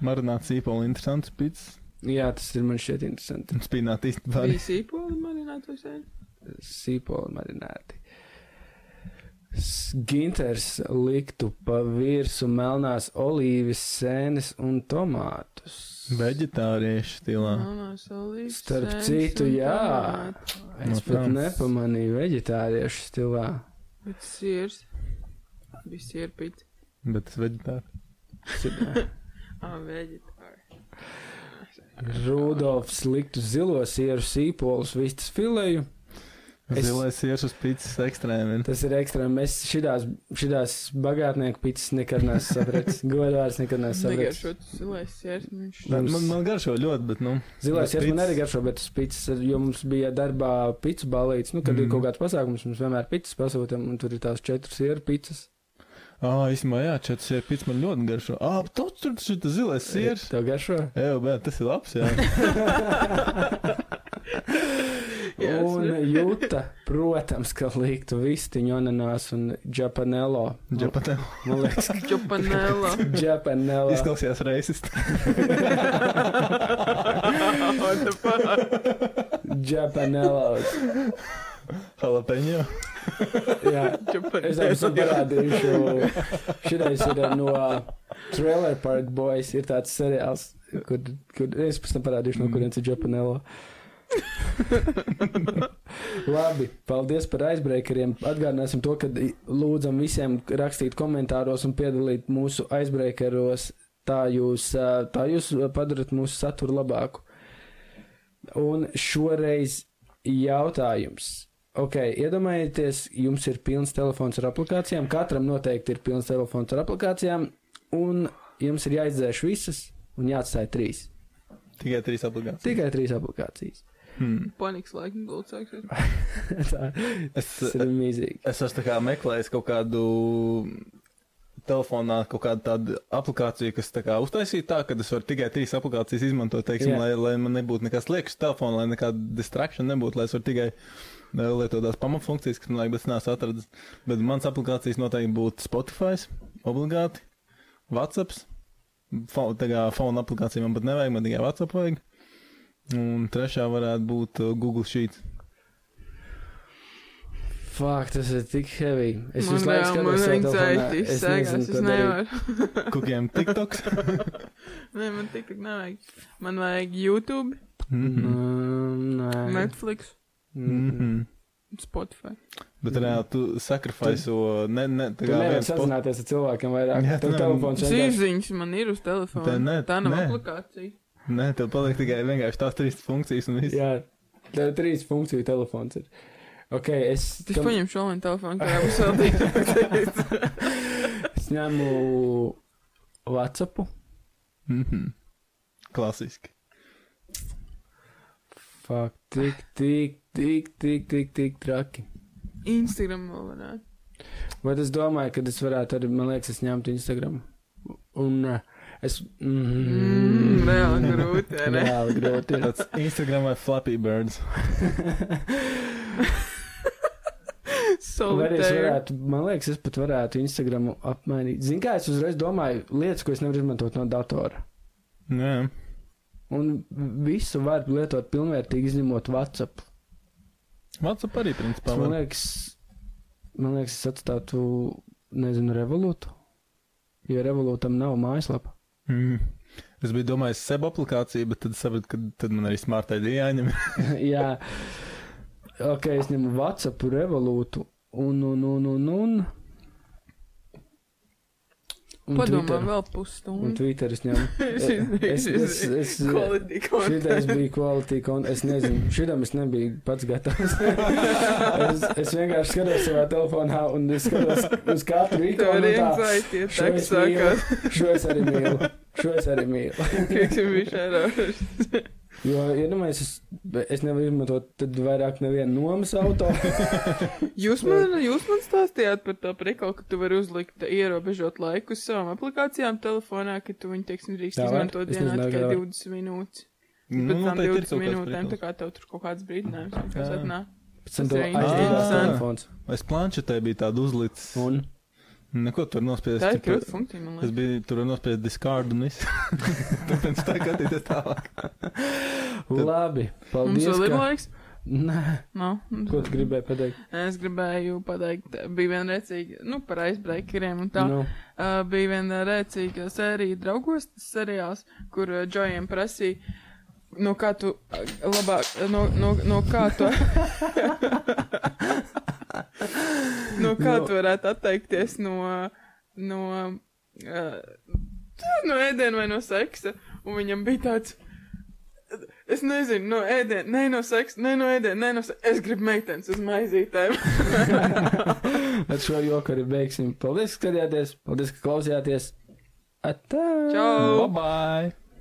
[SPEAKER 1] Marināt sīpoli interesants pits.
[SPEAKER 2] Jā, tas ir man šķiet interesanti.
[SPEAKER 1] Spīnāt īstenībā.
[SPEAKER 3] Bija sīpoli marinātos ēst.
[SPEAKER 2] Sīpoli marināti. S- Ginters liktu pa virsmu melnās olīves, sēnes un tomātus.
[SPEAKER 1] Veģetāriešu stilā.
[SPEAKER 3] Melnās olīves,
[SPEAKER 2] Starp
[SPEAKER 3] sēnes
[SPEAKER 2] citu,
[SPEAKER 3] un
[SPEAKER 2] jā.
[SPEAKER 3] tomāti.
[SPEAKER 2] Es
[SPEAKER 1] No
[SPEAKER 2] pat
[SPEAKER 1] Francijas.
[SPEAKER 2] nepamanīju veģetāriešu stilā.
[SPEAKER 3] Bet sirs. Bija sirpīt.
[SPEAKER 1] Bet es veģetāru.
[SPEAKER 3] Ah, veģetāri.
[SPEAKER 2] Rudolfs liktu zilo sieru sīpolus vistas fileju. Es-
[SPEAKER 1] Zilais ies uz pīcis ekstrēmiem.
[SPEAKER 2] Tas ir ekstrēms. Es šidās, šidās bagātnieku pīcis nekad neesmu sapratis. Godvārds nekad neesmu sapratis.
[SPEAKER 3] Negaršot zilais sirs, nu viņš.
[SPEAKER 1] Man,
[SPEAKER 2] mums-
[SPEAKER 1] man, man garšo ļoti, bet nu.
[SPEAKER 2] Zilais
[SPEAKER 1] bet
[SPEAKER 2] ir man
[SPEAKER 1] pitas-
[SPEAKER 2] arī garšo, bet tas pīcis, jo mums bija darbā pīcis balīts. Nu, kad mm. ir
[SPEAKER 1] Mm.
[SPEAKER 2] kaut kāds pasākums, mums vienmēr pīcis pasūtām, un tur ir tās četras sieru pīcis.
[SPEAKER 1] Ah, īstenībā, jā, četri sēri pits man ļoti garšo. Ah, tu tur tas ir tas zilais sērs.
[SPEAKER 2] Tev garšo?
[SPEAKER 1] Jā, bet tas ir labs, jā.
[SPEAKER 3] Jā, es
[SPEAKER 2] Un
[SPEAKER 3] varu.
[SPEAKER 2] jūta, protams, ka liktu vistiņu ananās un džapanelo.
[SPEAKER 1] Džapatē.
[SPEAKER 2] Man liekas, ka
[SPEAKER 3] Čopanela.
[SPEAKER 2] džapanelo.
[SPEAKER 1] Izklausījās reisist.
[SPEAKER 3] What the fuck?
[SPEAKER 2] Džapanelo.
[SPEAKER 1] Jalapeņo.
[SPEAKER 2] Jā, es
[SPEAKER 3] Čopanela.
[SPEAKER 2] jums parādīšu. Šitais ir no Trailer Park Boys. Ir tāds seriāls, kur, kur es pēc tam parādīšu, no kurienes ir džapanelo. Labi, paldies par aizbreakeriem. Atgādināsim to, ka lūdzam visiem rakstīt komentāros un piedalīt mūsu aizbreakeros. Tā jūs, ā, tā jūs padarat mūsu saturu labāku. Un šoreiz jautājums. Ok, iedomājieties, jums ir pilns telefons ar aplikācijām. Katram noteikti ir pilns telefons ar aplikācijām. Un jums ir jāizdzēš visas un jāatstāj trīs.
[SPEAKER 1] Tikai trīs obligāti.
[SPEAKER 2] Tikai trīs aplikācijas.
[SPEAKER 1] Hmm.
[SPEAKER 3] Paniks laikam būtu sāksies.
[SPEAKER 2] tā
[SPEAKER 1] Es,
[SPEAKER 2] tas ir mīzīgi.
[SPEAKER 1] es esmu tā kā meklējis kaut kādu telefonā kaut kādu tādu aplikāciju, kas tā kā uztaisīja tā, ka es varu tikai trīs aplikācijas izmantot, teiksim,
[SPEAKER 2] Jā.
[SPEAKER 1] lai, lai man nebūtu nekas liekas telefonā, lai nekāda distrakcija nebūtu, lai es varu tikai eh, lietot tās pamatfunkcijas, kas man liekas, nesu atradzis. Bet mans aplikācijas noteikti būtu Spotify, obligāti, WhatsApp. Tā kā fauna aplikācija man pat nevajag, man tikai WhatsApp vajag. Un trešā varētu būt eh, Google Sheets.
[SPEAKER 2] Fakt, tas ir tik heavy. Es
[SPEAKER 3] Man
[SPEAKER 2] visu laiku
[SPEAKER 3] jā,
[SPEAKER 2] skatos
[SPEAKER 3] man
[SPEAKER 2] tajā telefonā.
[SPEAKER 3] anxiety
[SPEAKER 2] Es
[SPEAKER 3] sēgās,
[SPEAKER 2] nezinu,
[SPEAKER 3] es
[SPEAKER 2] ko darīt.
[SPEAKER 3] nevaru.
[SPEAKER 1] Kukiem TikToks.
[SPEAKER 3] Nē, man tik tik nevajag. Man vajag YouTube,
[SPEAKER 1] Mhm.
[SPEAKER 2] Mm, Nē.
[SPEAKER 3] Netflix,
[SPEAKER 2] Mm.
[SPEAKER 1] Mhm.
[SPEAKER 3] Spotify.
[SPEAKER 1] Bet
[SPEAKER 2] Mhm.
[SPEAKER 1] reāli tu sakrifaiso ne, ne, tā
[SPEAKER 2] Tu
[SPEAKER 1] kā
[SPEAKER 2] nevari
[SPEAKER 1] viens po-
[SPEAKER 2] sazināties ar cilvēkiem vairāk.
[SPEAKER 1] Jā,
[SPEAKER 2] Jā,
[SPEAKER 1] tu
[SPEAKER 2] tev
[SPEAKER 1] nevari-
[SPEAKER 2] telefons vienkārši
[SPEAKER 3] Zīziņas man ir uz
[SPEAKER 1] Tā
[SPEAKER 3] telefona.
[SPEAKER 1] ne-
[SPEAKER 3] Tā nav
[SPEAKER 1] nē.
[SPEAKER 3] aplikācija.
[SPEAKER 1] Nē, tev paliek tikai vienkārši tās trīs funkcijas un viss.
[SPEAKER 2] Jā, tā ir trīs funkciju telefons. Ir. Ok, es,
[SPEAKER 3] Es paņemšu šo vienu telefonu, kā jau sāpīgi.
[SPEAKER 2] es ņemu WhatsApp.
[SPEAKER 1] Mhm. Klasiski.
[SPEAKER 2] Fakt, tik, tik, tik, tik, tik, tik traki.
[SPEAKER 3] Instagram vēl varētu.
[SPEAKER 2] Bet es domāju, ka es varētu arī, man liekas, es ņemtu Instagram. Un eh, es.
[SPEAKER 3] Mm, reāli grūti, vai ne?
[SPEAKER 2] Reāli grūti. ir.
[SPEAKER 1] Tāds Instagram vai Flappy Birds.
[SPEAKER 2] Vai arī es
[SPEAKER 3] Solitaire.
[SPEAKER 2] varētu, man liekas, es pat varētu Instagramu apmainīt. Zini, kā es uzreiz domāju, lietas, ko es nevaru izmantot no datora.
[SPEAKER 1] Nē,
[SPEAKER 2] Un visu var lietot pilnvērtīgi, izņemot WhatsApp.
[SPEAKER 1] WhatsApp arī principā.
[SPEAKER 2] Tas, man
[SPEAKER 1] var.
[SPEAKER 2] liekas, man liekas, es atstātu, nezinu, revolūtu. Jo revolūtam nav mājaslapa.
[SPEAKER 1] Mhm. Es biju domājis seb aplikāciju, bet tad sapratu, ka tad man arī smart ID jāņem.
[SPEAKER 2] Jā, ok, es ņemu WhatsApp, revolūtu un, un, un, un, un. un
[SPEAKER 3] Padomā
[SPEAKER 2] Twitteru.
[SPEAKER 3] vēl
[SPEAKER 2] Un
[SPEAKER 3] pusstundu.
[SPEAKER 2] Twitter es ņemu. es, es, es, es,
[SPEAKER 3] Quality
[SPEAKER 2] Šitais
[SPEAKER 3] content.
[SPEAKER 2] bija kvalitāte, un es nezinu, šitam es nebiju pats gatavs. es, es vienkārši skatos savā telefonā, un es skatos uz katru
[SPEAKER 3] Tev ir
[SPEAKER 2] ikonu. un tā,
[SPEAKER 3] anxiety,
[SPEAKER 2] Šo
[SPEAKER 3] tā kā
[SPEAKER 2] es
[SPEAKER 3] sākās.
[SPEAKER 2] Šo es arī mīlu. Šo es arī mīlu.
[SPEAKER 3] Pieksim viņš ārā.
[SPEAKER 2] jo, ja domāju, es, es nevaru izmantot tad vairāk nevienu nomas auto.
[SPEAKER 3] Jūs man, jūs man stāstījāt par to prikalu, ka tu vari uzlikt ierobežot laiku uz savām aplikācijām telefonā, ka tu viņu, teiksim, drīkst
[SPEAKER 2] Tā var?
[SPEAKER 3] izmantot
[SPEAKER 2] Es
[SPEAKER 3] dienā
[SPEAKER 2] nezināju, ka
[SPEAKER 3] tikai
[SPEAKER 2] tā var.
[SPEAKER 3] 20 minūtes.
[SPEAKER 1] Nu,
[SPEAKER 3] Pēc tam
[SPEAKER 1] noteikti ir
[SPEAKER 3] 20
[SPEAKER 1] kaut kāds
[SPEAKER 3] minūtēm, tā
[SPEAKER 1] prikals.
[SPEAKER 3] kā tev tur kaut kāds brīdinājums vienkārši
[SPEAKER 1] Jā.
[SPEAKER 3] atnāk.
[SPEAKER 2] Pēc tam
[SPEAKER 3] Tas
[SPEAKER 2] tev
[SPEAKER 3] ir
[SPEAKER 2] aizdīgās
[SPEAKER 1] interesanti.
[SPEAKER 2] telefons.
[SPEAKER 1] Es planšetē biju tādu uzlicis.
[SPEAKER 2] Un
[SPEAKER 1] Neko tur nospiest.
[SPEAKER 3] Nu. Tā ir
[SPEAKER 1] tipa,
[SPEAKER 3] krūta funkcija, man
[SPEAKER 1] Es
[SPEAKER 3] liekas.
[SPEAKER 1] biju tur nospiest diskārdu un viss. Tāpēc tā skatīties tālāk.
[SPEAKER 2] labi,
[SPEAKER 3] Mums
[SPEAKER 2] paldies.
[SPEAKER 3] vēl ir
[SPEAKER 2] Ka...
[SPEAKER 3] laiks?
[SPEAKER 2] Nē,
[SPEAKER 3] Nav.
[SPEAKER 2] ko tu gribēji pateikt?
[SPEAKER 3] Es gribēju pateikt, bija vienreicīgi, nu, par aizbreakeriem un tā.
[SPEAKER 2] Nu,
[SPEAKER 3] Uh, bija viena rēcīga sērija draugos, tas seriāls, kur uh, Džojiem prasīja, no kā tu uh, labāk, no, no, no kā tu. no kā
[SPEAKER 2] No-
[SPEAKER 3] tu varētu atteikties no. no uh, no ēdiena vai no seksa, un viņam bija tāds. Es nezinu, no ēdiena, ne no seksa, ne no ēdiena, ne no seksa. Es gribu meitenes uz maizītēm.
[SPEAKER 2] ar šo joku arī beigsim. Paldies, ka skatījāties. Paldies, ka klausījāties. Atā!
[SPEAKER 3] Čau!
[SPEAKER 1] Bye bye!